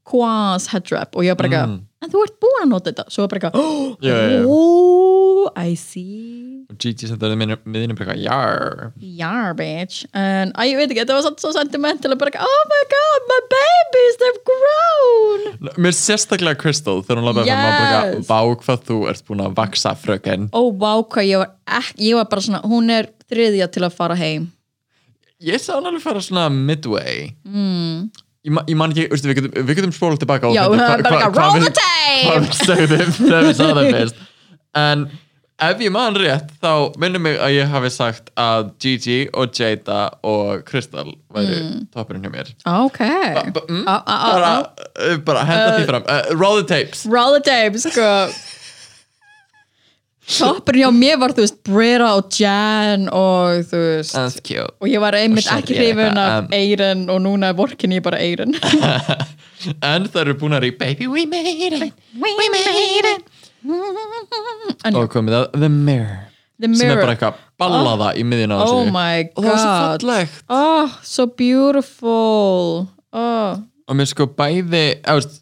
Speaker 2: turquoise headdrap og ég var bara eitthvað,
Speaker 1: Mm.
Speaker 2: en þú ert búin að nota þetta Svo var bara eitthvað,
Speaker 1: Já, já, já.
Speaker 2: oh, I see
Speaker 1: og Gigi sendur það miðinu bara eitthvað, jar
Speaker 2: Yar, bitch. En, að ég veit ekki, þetta var samt svo sentimental og bara, eitthvað, oh my god, my babies, they've grown.
Speaker 1: mér sérstaklega Crystal þegar hún löpuð fram og bara
Speaker 2: Yes.
Speaker 1: eitthvað, vá hvað þú ert búin að vaksa fröken
Speaker 2: ó, vá, hvað ég var ekki, ég var bara svona, hún er þriðja til að fara heim.
Speaker 1: ég sá hann alveg fara svona midway
Speaker 2: Mm.
Speaker 1: ég, ma ég man ekki, veistu, við getum, við getum spólað tilbaka og
Speaker 2: Já,
Speaker 1: fundið
Speaker 2: hún
Speaker 1: hva-
Speaker 2: var bara
Speaker 1: hva-
Speaker 2: eitthvað,
Speaker 1: hvað
Speaker 2: roll the
Speaker 1: við- hvað
Speaker 2: tape!
Speaker 1: við sögðum þegar við sagðum það fyrst en ef ég man rétt þá minnum mig að ég hafi sagt að Gigi og Jada og Crystal væri toppurinn hjá mér
Speaker 2: Ok. Ah,
Speaker 1: B- mm,
Speaker 2: Á, Mm. á, á,
Speaker 1: bara,
Speaker 2: á.
Speaker 1: uh, bara henda því fram uh, roll the tapes
Speaker 2: Roll the tape, sko. Toppurinn hjá mér var, þú veist, Britta og Jan og þú veist,
Speaker 1: that's cute
Speaker 2: og ég var einmitt
Speaker 1: Og Ah,
Speaker 2: ekki
Speaker 1: sorry,
Speaker 2: hrifin af
Speaker 1: eitthvað, um,
Speaker 2: Eiren og núna vorkin ég bara Eiren.
Speaker 1: en það eru búin að rík baby we made it
Speaker 2: We made it. En já,
Speaker 1: og komið að the mirror
Speaker 2: The
Speaker 1: sem er bara
Speaker 2: Mirror,
Speaker 1: eitthvað ballaða í miðjun á
Speaker 2: oh
Speaker 1: þessu
Speaker 2: my
Speaker 1: og það var svo
Speaker 2: god.
Speaker 1: fallegt
Speaker 2: Oh, so beautiful. Oh.
Speaker 1: og mér sko bæði eftir,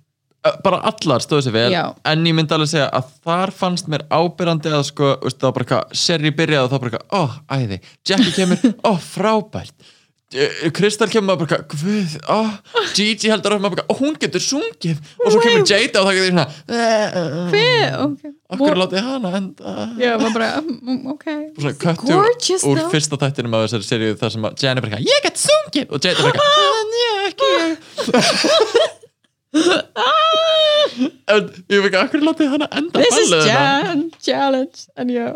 Speaker 1: bara allar stóðu sér vel
Speaker 2: Já.
Speaker 1: en ég myndi alveg segja að þar fannst mér ábyrrandi að sko, veist, það var bara eitthvað Sherry byrjaði og það var bara eitthvað, ó, oh, æði Jackie kemur, ó, oh, frábært Eh, Kristall kemur maður bara eitthvað, guð, ó Gigi heldur að maður bara, eitthvað, ó, hún getur sungið og svo kemur Jada og það getur svona eh, eh,
Speaker 2: Hver? Okay.
Speaker 1: okkur látið hana enda
Speaker 2: Já, maður bara, mm, ok
Speaker 1: og svona köttu
Speaker 2: Gorgeous,
Speaker 1: úr
Speaker 2: though.
Speaker 1: fyrsta tættinum af þessari seríu þar sem að Jenny bara eitthvað, ég get sungið og Jada bara eitthvað, "Ah, en ég ekki ég en ég veit ekki akkur látið hana enda hérna?
Speaker 2: This is
Speaker 1: ballið hennar.
Speaker 2: Jan Challenge En já,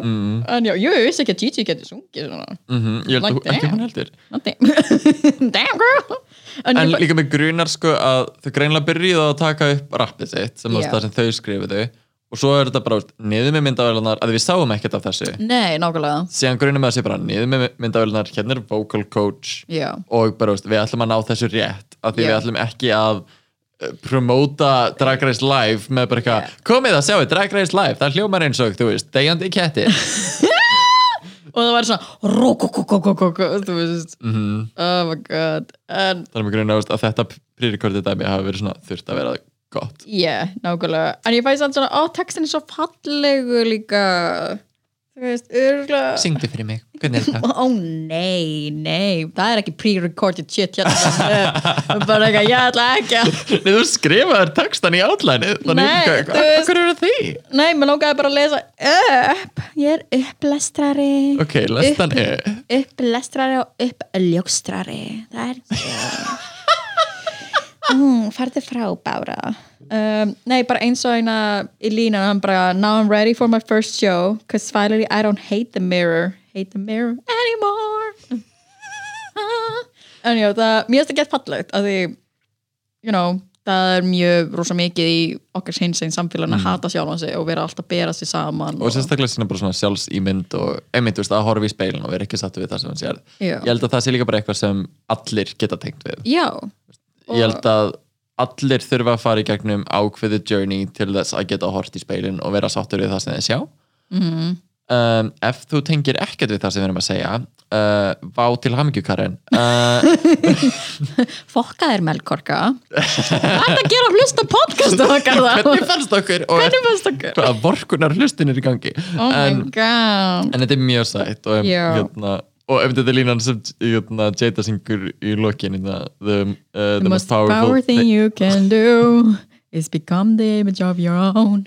Speaker 2: en já, jú, ég vissi ekki að Gigi getur sungið svona
Speaker 1: Mhm, ég held
Speaker 2: Like
Speaker 1: like hún, ekki
Speaker 2: damn.
Speaker 1: hún heldur
Speaker 2: Not damn Damn girl En,
Speaker 1: en
Speaker 2: ég bara,
Speaker 1: líka með grunar sko að þau greinlega byrjuðu að taka upp rappið sitt sem yeah.
Speaker 2: Já.
Speaker 1: það sem þau skrifuðu og svo er þetta bara veist, niður með myndavélunar að við sáum ekkert af þessu
Speaker 2: Nei, nákvæmlega
Speaker 1: síðan grunum með þessi bara niður með myndavélunar hérna er vocal coach
Speaker 2: Já,
Speaker 1: og bara veist, við ætlum að ná þessu rétt af því
Speaker 2: Já.
Speaker 1: við ætlum ekki að uh, promóta Drag Race Live með bara eitthvað, komið að sjáu Drag Race Live það hljómar eins og, þú veist, deyjandi kettir
Speaker 2: og það var svona Rókokokokokok Þú veist Oh my god En,
Speaker 1: þar er mér grunn að þetta prírekordið dæmi hafa verið svona þurft að vera gott
Speaker 2: yeah, nákvæmlega En ég fæði samt svona, ó, textin er svo fallegu líka Þú veist, örgulega
Speaker 1: syngdu fyrir mig, hvernig er það?
Speaker 2: Ó nei, nei, það er ekki pre-recorded shit hérna bara eitthvað, ég ætla ekki að
Speaker 1: Nei, þú skrifaður textan í átlænið þannig
Speaker 2: Nei,
Speaker 1: hvað-
Speaker 2: þú
Speaker 1: hvað-
Speaker 2: veist-
Speaker 1: hvað eru því?
Speaker 2: nei, mér langaði bara að lesa upp, ég er upplestrari
Speaker 1: ok, lestan er
Speaker 2: upplestrari og uppljókstrari það er mm, farði frá bára um, nei, bara eins og eina í línan, hann bara now I'm ready for my first show cause finally I don't hate the mirror hate the mirror anymore en já, það, mér finnst það gett fallegt að því, you know það er mjög rosa mikið í okkar hinsinn samfélagin að hata sjálfan sig og vera alltaf að bera sig saman
Speaker 1: og sérstaklega sína bara svona sjálfsýmynd og einmitt, þú veist, að horfa í speilin og vera ekki sattu við það sem hann sér
Speaker 2: Já.
Speaker 1: ég held að það sé líka bara eitthvað sem allir geta tengt við
Speaker 2: já,
Speaker 1: ég held að allir þurfa að fara í gegnum ákveðu journey til þess að geta hort í speilin og vera sáttur við það sem þið sjá
Speaker 2: Mhm.
Speaker 1: um, ef þú tengir ekkert við það sem við erum að segja uh, vá til hamingju Karen uh,
Speaker 2: fokka þér melkorka hvað er að gera að hlusta á podcastu okkar þá
Speaker 1: hvernig fannst okkur og
Speaker 2: hvernig fannst okkur
Speaker 1: hvaða vorkunar hlustin er í gangi
Speaker 2: oh
Speaker 1: en,
Speaker 2: my god
Speaker 1: en þetta er mjög sætt og, um,
Speaker 2: Já.
Speaker 1: hérna, og ef þetta er línan sem hérna, Jada syngur í lokin hérna, the, uh,
Speaker 2: the most powerful thing you can do is become the image of your own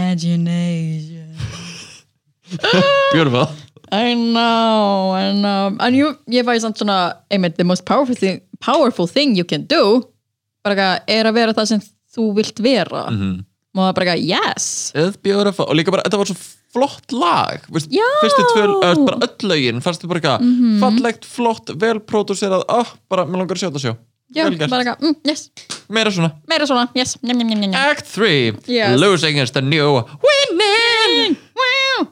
Speaker 2: imagination
Speaker 1: beautiful
Speaker 2: I know, I know en jú, ég fæði samt svona einmitt, the most powerful thing, powerful thing you can do bara eitthvað, er að vera það sem þú vilt vera mm
Speaker 1: Mhm.
Speaker 2: -hmm. og það bara eitthvað, yes
Speaker 1: It's beautiful og líka bara, þetta var svo flott lag Vist,
Speaker 2: Já. Mhm.
Speaker 1: fyrstu tvör, eh, bara öll lögin fannst þið bara eitthvað fallegt, flott, vel pródúserað, ah, bara, mér langar að sjá þetta sjá
Speaker 2: já,
Speaker 1: Vel gert.
Speaker 2: bara eitthvað, mm, yes,
Speaker 1: meira svona
Speaker 2: meira svona, yes, njam, njam, njam, njam.
Speaker 1: Act 3,
Speaker 2: Yes.
Speaker 1: losing is the new winning
Speaker 2: Wow.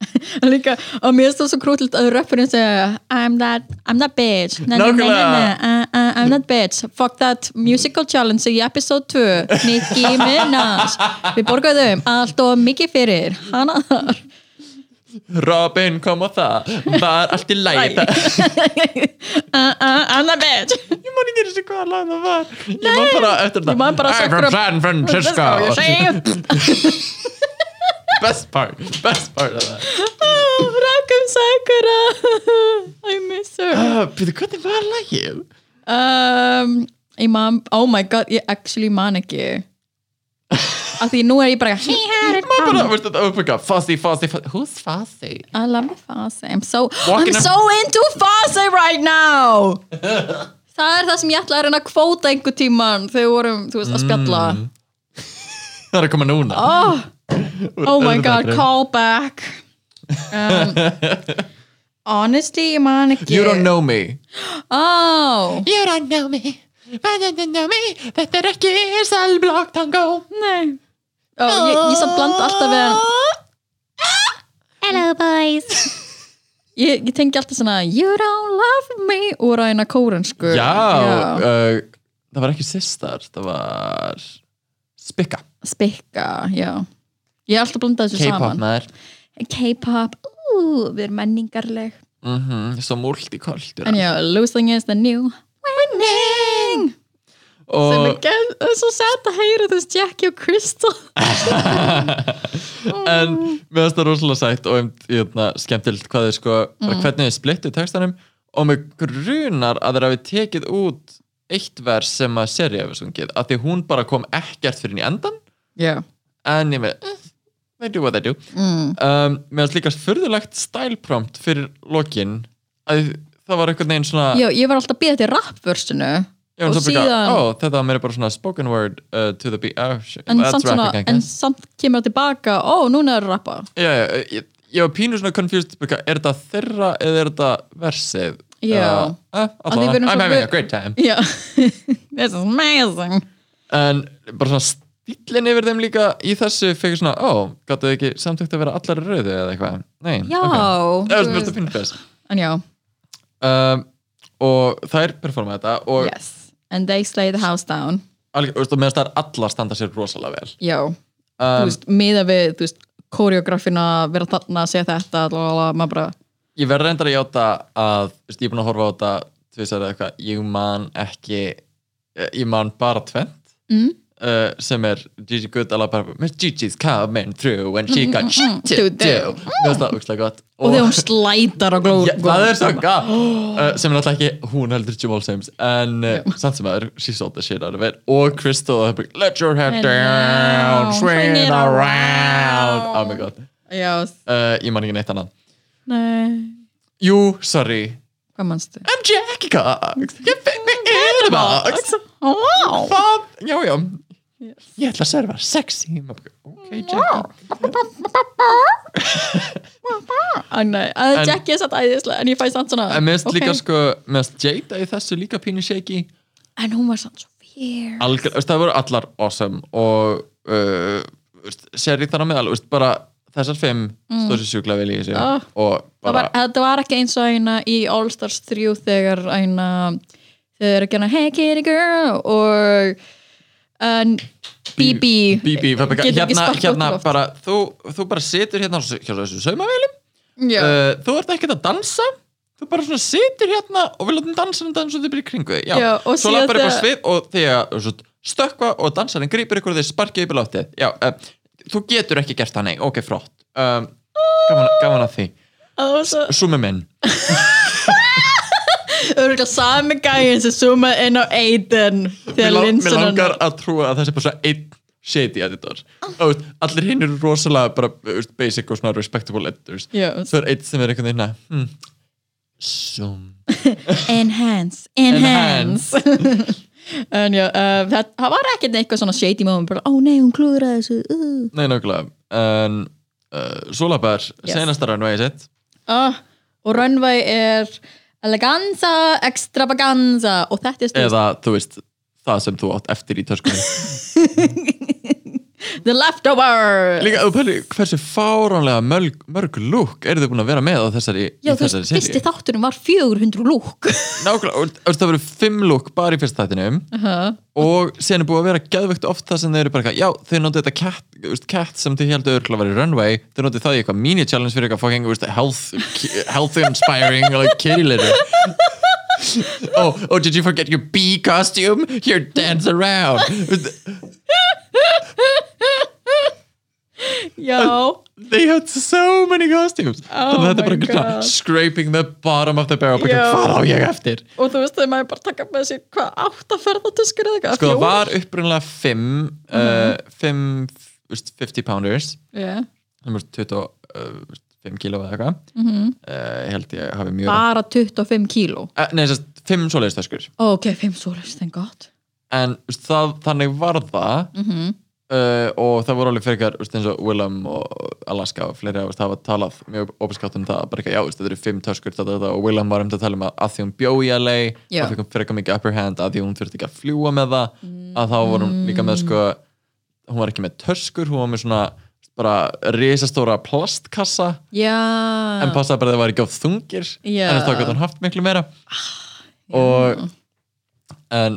Speaker 2: Líka, og mér finnst það svo krútilt að röppurinn segja I'm that, I'm that bitch na, na, na, na, na, uh, uh, I'm that bitch Fuck that musical challenge í episode 2 Nicki Minaj Við borgaðum allt og mikið fyrir hana þar
Speaker 1: Robin kom og það var allt í lægi
Speaker 2: uh, uh, I'm that bitch
Speaker 1: ég man ekki eins og hvað lag það var ég man bara eftir þetta
Speaker 2: Ég man bara
Speaker 1: I'm from
Speaker 2: Sakura-
Speaker 1: San Francisco
Speaker 2: Ég segi,
Speaker 1: best part, best part of that
Speaker 2: "Ah, Rakum Sakura I miss her
Speaker 1: uh, Býðu, hvernig var lagið?
Speaker 2: um, ég man, oh my god ég actually man ekki af því nú er ég bara he had it
Speaker 1: Ég man bara,
Speaker 2: coming.
Speaker 1: veistu þetta, uppbyggja Fuzzy, Fuzzy, Fuzzy, who's Fuzzy?
Speaker 2: I love Fosse I'm so,
Speaker 1: Walking
Speaker 2: I'm
Speaker 1: up-
Speaker 2: so into Fosse right now það er það sem ég ætla að reyna að kvóta einhver tíman þegar við vorum, þú veist, að spjalla
Speaker 1: Mm. Það er að koma núna
Speaker 2: oh, oh my
Speaker 1: Öðrum
Speaker 2: god,
Speaker 1: þættinum.
Speaker 2: call back um, honestly, ég man ekki
Speaker 1: You don't know me
Speaker 2: oh,
Speaker 1: You don't know me I don't know me Þetta er ekki Selblock Tango
Speaker 2: nei oh, ég, ég samt blanda alltaf við hann
Speaker 3: Hello, boys.
Speaker 2: Ég, ég tengi alltaf svona You don't love me úr að eina kórensku
Speaker 1: Já,
Speaker 2: Já.
Speaker 1: Uh, það var ekki sistar Það var Spikka
Speaker 2: Spikka, já Ég er alltaf að blanda þessu
Speaker 1: K-pop
Speaker 2: saman
Speaker 1: maður
Speaker 2: K-pop, ú, við erum menningarleg
Speaker 1: mm Svo multikultur
Speaker 2: En já, losing is the new winning Sem er
Speaker 1: Og
Speaker 2: geð- það er svo sætt að heyra þú veist Jackie og Crystal
Speaker 1: en mér finnst það rosalega sætt og einmitt, hérna, skemmtilegt hvað þið sko
Speaker 2: Mm.
Speaker 1: bara hvernig þið splittu textanum og mér grunar að þeir hafi tekið út eitt vers sem að seri hefur sungið að því hún bara kom ekkert fyrir inn í endan
Speaker 2: Já
Speaker 1: en ég með eh, they do what they do
Speaker 2: mm.
Speaker 1: um, mér finnst líka fyrðulegt style prompt fyrir lokin að það var einhvern veginn svona
Speaker 2: Já, ég var alltaf að býða til rapvörsinu
Speaker 1: ég var
Speaker 2: og
Speaker 1: svo bara,
Speaker 2: síðan-
Speaker 1: ó, þetta var mér bara svona spoken word uh, to the beat oh, shit,
Speaker 2: en,
Speaker 1: that's
Speaker 2: samt svona,
Speaker 1: rapping I
Speaker 2: en
Speaker 1: guess
Speaker 2: samt kemur það tilbaka Ó, núna er að rappa
Speaker 1: já, já, ég, ég var pínu svona confused byrja, er þetta þeirra eða er þetta versið
Speaker 2: Já.
Speaker 1: uh, eh,
Speaker 2: Að því
Speaker 1: allavega, I'm
Speaker 2: við erum svo
Speaker 1: having
Speaker 2: vö-
Speaker 1: a great time
Speaker 2: Já This is amazing
Speaker 1: en bara svona stíllin yfir þeim líka í þessu fyrir svona, ó, gáttu þið ekki samtökt að vera allar í rauðu eða eitthvað nei,
Speaker 2: Já
Speaker 1: ok.
Speaker 2: þú
Speaker 1: það var mjög
Speaker 2: veist.
Speaker 1: pínu þess
Speaker 2: En já
Speaker 1: um, og þær performa þetta og yeah.
Speaker 2: Yes, and they slay the house down
Speaker 1: alveg, veist, og meðan það er allar standa sér rosalega vel
Speaker 2: Já, þú
Speaker 1: um,
Speaker 2: veist, miða við þú veist, koreografina, vera þarna að segja þetta, lalala, maður bara
Speaker 1: ég verð reyndar að játa að þú veist, ég er búin að horfa á þetta tvisar eða eitthvað, ég man ekki eh, ég man bara tvent
Speaker 2: Mm.
Speaker 1: uh, sem er Gigi Good að lafa bara, Miss Gigi's coming through and she
Speaker 2: Mm,
Speaker 1: got shit to
Speaker 2: to
Speaker 1: do
Speaker 2: do."
Speaker 1: mér finnst það úkslega gott
Speaker 2: og þegar hún sko. slætar á gló
Speaker 1: Já, það er svo gaf uh, sem er alltaf ekki hún heldur Jamal Sims en uh, samt sem aður, she sold the shit out of it og Crystal, það er bara, let your head
Speaker 2: And
Speaker 1: down
Speaker 2: now,
Speaker 1: swing it around
Speaker 2: around.
Speaker 1: oh my god,
Speaker 2: Já, s-
Speaker 1: uh, ég man ekki neitt annað
Speaker 2: nei,
Speaker 1: jú, sorry
Speaker 2: hvað manstu?
Speaker 1: I'm Jackie Cox Ég fekk mig in a box
Speaker 2: Wow
Speaker 1: Það, já, já Ég ætla að serva sexy Ok, Jackie
Speaker 2: Æ, nei, að
Speaker 1: En-
Speaker 2: Jackie er satt æðislega en ég fæ samt svona
Speaker 1: En minnst
Speaker 2: ok.
Speaker 1: líka sko, minnst Jada í þessu líka pínu shaky
Speaker 2: En hún var samt svo fyrr
Speaker 1: Algjör, veist, það voru allar awesome og uh, veist, seri þar á meðal veist, bara þessar fimm mm. stóð sér sjúkla vel í þessu
Speaker 2: Ah.
Speaker 1: og
Speaker 2: það
Speaker 1: bara,
Speaker 2: var, þetta var ekki eins og eina í All Stars 3 þegar eina þegar ekki eina Hey Kitty Girl og en, BB
Speaker 1: BB, það bara-
Speaker 2: getur ekki
Speaker 1: hérna,
Speaker 2: sparkað
Speaker 1: hérna
Speaker 2: út í loft.
Speaker 1: bara, þú, þú bara situr hérna á þessu- hjá þessu saumavélum
Speaker 2: Já.
Speaker 1: uh, þú ert ekkert að dansa þú bara svona situr hérna og við látum dansanum dansa og þau byrja í kringu þig já.
Speaker 2: Já, og
Speaker 1: svo
Speaker 2: síðan
Speaker 1: lappar eitthvað
Speaker 2: þegar-
Speaker 1: svið og þegar svo, stökkva og dansarinn grýpur ykkur og þeir sparkið upp í látið já, uh, þú getur ekki gert það nei, ok, frott um, gaman, gaman að því,
Speaker 2: Það var svo
Speaker 1: sumi minn
Speaker 2: örgulega sami gæin sem suma inn á Aiden
Speaker 1: mér,
Speaker 2: þegar
Speaker 1: lang- mér
Speaker 2: linsunan
Speaker 1: langar að trúa að það sé bara svona einn shady editor Þú veist, allir hinn eru rosalega bara þú veist, basic og svona respectable editors
Speaker 2: Já.
Speaker 1: svo er einn sem er einhvern veginn að, hmm, sum
Speaker 2: Enhance, enhance En já, uh, það, það var ekkert eitthvað svona shady moment bara, ó nei, hún klúðraði þessu uh.
Speaker 1: Nei, nákvæmlega En uh, Sólabær, yes.
Speaker 2: Yes.
Speaker 1: senastar hann vegið sitt
Speaker 2: ah, og Runway er Eleganza, extravaganza og þetta er stundum
Speaker 1: eða þú veist það sem þú átt eftir í töskunni
Speaker 2: The leftover
Speaker 1: líka, þú pæli, hversu fáránlega mörg, mörg lúk eru þau búin að vera með á þessari, í
Speaker 2: Já, þú veist,
Speaker 1: þessari
Speaker 2: fyrsti
Speaker 1: seríu?
Speaker 2: þátturum var 400 lúk
Speaker 1: nákvæmlega, og- og það verður fimm lúk bara í fyrsta þættinum og síðan er búið að vera geðvögt oft það sem þau eru bara eitthvað, já, þau nóttu þetta cat, þú veist, cat sem þau heldur örgulega að vera í runway þau nóttu það í eitthvað mini-challenge fyrir eitthvað fucking þú veist, health, health inspiring like kitty litter oh, oh, did you forget your bee costume? Here, dance around
Speaker 2: Já,
Speaker 1: they had so many costumes
Speaker 2: Oh
Speaker 1: þannig að þetta er
Speaker 2: my
Speaker 1: bara einhvern svona
Speaker 2: God.
Speaker 1: scraping the bottom of the barrel bara
Speaker 2: Já.
Speaker 1: hvað á ég eftir
Speaker 2: og þú veist þegar maður bara taka með sér hvað átt að ferða tuskur eða eitthvað
Speaker 1: sko það var uh, upprunlega 5 5 50 pounders
Speaker 2: yeah.
Speaker 1: sem voru uh, 25 kíló eða eitthvað Eh, held ég hafi mjög
Speaker 2: bara 25 kíló
Speaker 1: Eh, nei, þess að 5 svoleiðis töskur
Speaker 2: ok, 5 sólust, en gott
Speaker 1: en þú veist, það, þannig var það uh, og það voru alveg frekar þú veist, eins og Willem og Alaska og fleiri þú veist, hafa talað mjög opinskátt um það bara ekki, já, þú veist, þetta eru 5 töskur þetta, þetta, og Willem var um þetta að tala um að, að því hún bjó í LA
Speaker 2: Já.
Speaker 1: þá fekk hún frekar mikið upper hand að því hún þurfti ekki að fljúa með það að þá var hún líka með sko hún var ekki með töskur, hún var með svona bara risastóra plastkassa
Speaker 2: já,
Speaker 1: en passaði bara að það var ekki of þungir
Speaker 2: Já. Ah,
Speaker 1: en þá gæti hann haft miklu meira og en uh,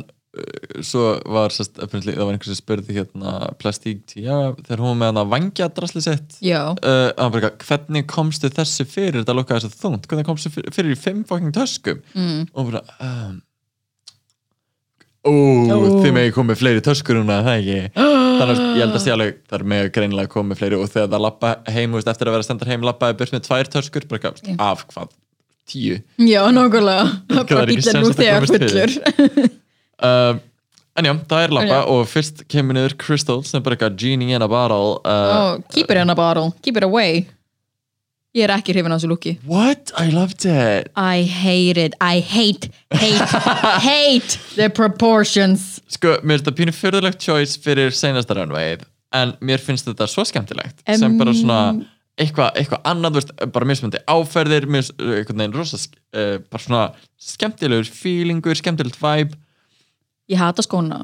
Speaker 1: svo var sest, apparently, það var einhvers sem spurði hérna plastík tíja þegar hún var með hann að vangja drasli sitt
Speaker 2: já,
Speaker 1: uh, hann bara eitthvað, hvernig komstu þessu fyrir þetta lukkaði þessu þungt, hvernig komstu fyrir, fyrir í fimm fucking töskum
Speaker 2: Mm.
Speaker 1: og hún bara um, ó,
Speaker 2: Ó.
Speaker 1: þið megi komið fleiri töskur núna, það ekki þannig að
Speaker 2: Ah.
Speaker 1: ég held að sé alveg þar með greinilega komið fleiri og þegar það lappa heim, þú veist, eftir að vera sendar heim lappaði burt með tvær töskur, bara eitthvað, af hvað tíu
Speaker 2: já, nákvæmlega
Speaker 1: það er
Speaker 2: bara
Speaker 1: ekki
Speaker 2: bíllinn
Speaker 1: sens
Speaker 2: nú
Speaker 1: að það
Speaker 2: þegar
Speaker 1: komist
Speaker 2: fullur
Speaker 1: um, en já, það er lappa
Speaker 2: Já.
Speaker 1: og fyrst kemur niður Crystal sem bara eitthvað genie in a bottle uh,
Speaker 2: oh, keep it in a bottle, keep it away ég er ekki hrifin á þessu lúki
Speaker 1: what? I loved it
Speaker 2: I hate it, I hate, hate, hate the proportions
Speaker 1: sko, mér finnst þetta pínu fyrðulegt choice fyrir seinasta runwayð en mér finnst þetta svo skemmtilegt
Speaker 2: Em-
Speaker 1: sem bara svona eitthvað eitthva annað, þú veist, bara mismöndi áferðir mis, eh, einhvern veginn rosa sk- eh, bara svona skemmtilegur feelingur skemmtilegt vibe
Speaker 2: ég hata skóna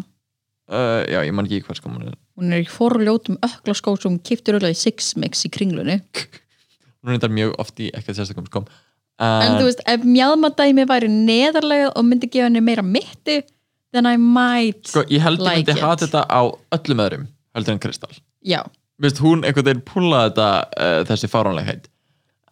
Speaker 1: uh, já, ég man ekki í hvað sko hún er
Speaker 2: hún er í forljótum ökla skó sem hún kiptir öll í Six Mix í kringlunni
Speaker 1: hún er þetta mjög oft í ekkert sko. sérstakum skom Ah.
Speaker 2: en þú veist, ef mjálmadæmi væri neðarlega og myndi gefa henni meira mitti then I might
Speaker 1: sko, ég held
Speaker 2: like
Speaker 1: ég myndi
Speaker 2: it.
Speaker 1: hata þetta á öllum öðrum heldur en Kristall
Speaker 2: já,
Speaker 1: Vist, hún einhvern veginn púlaði þetta uh, þessi fáránlegheit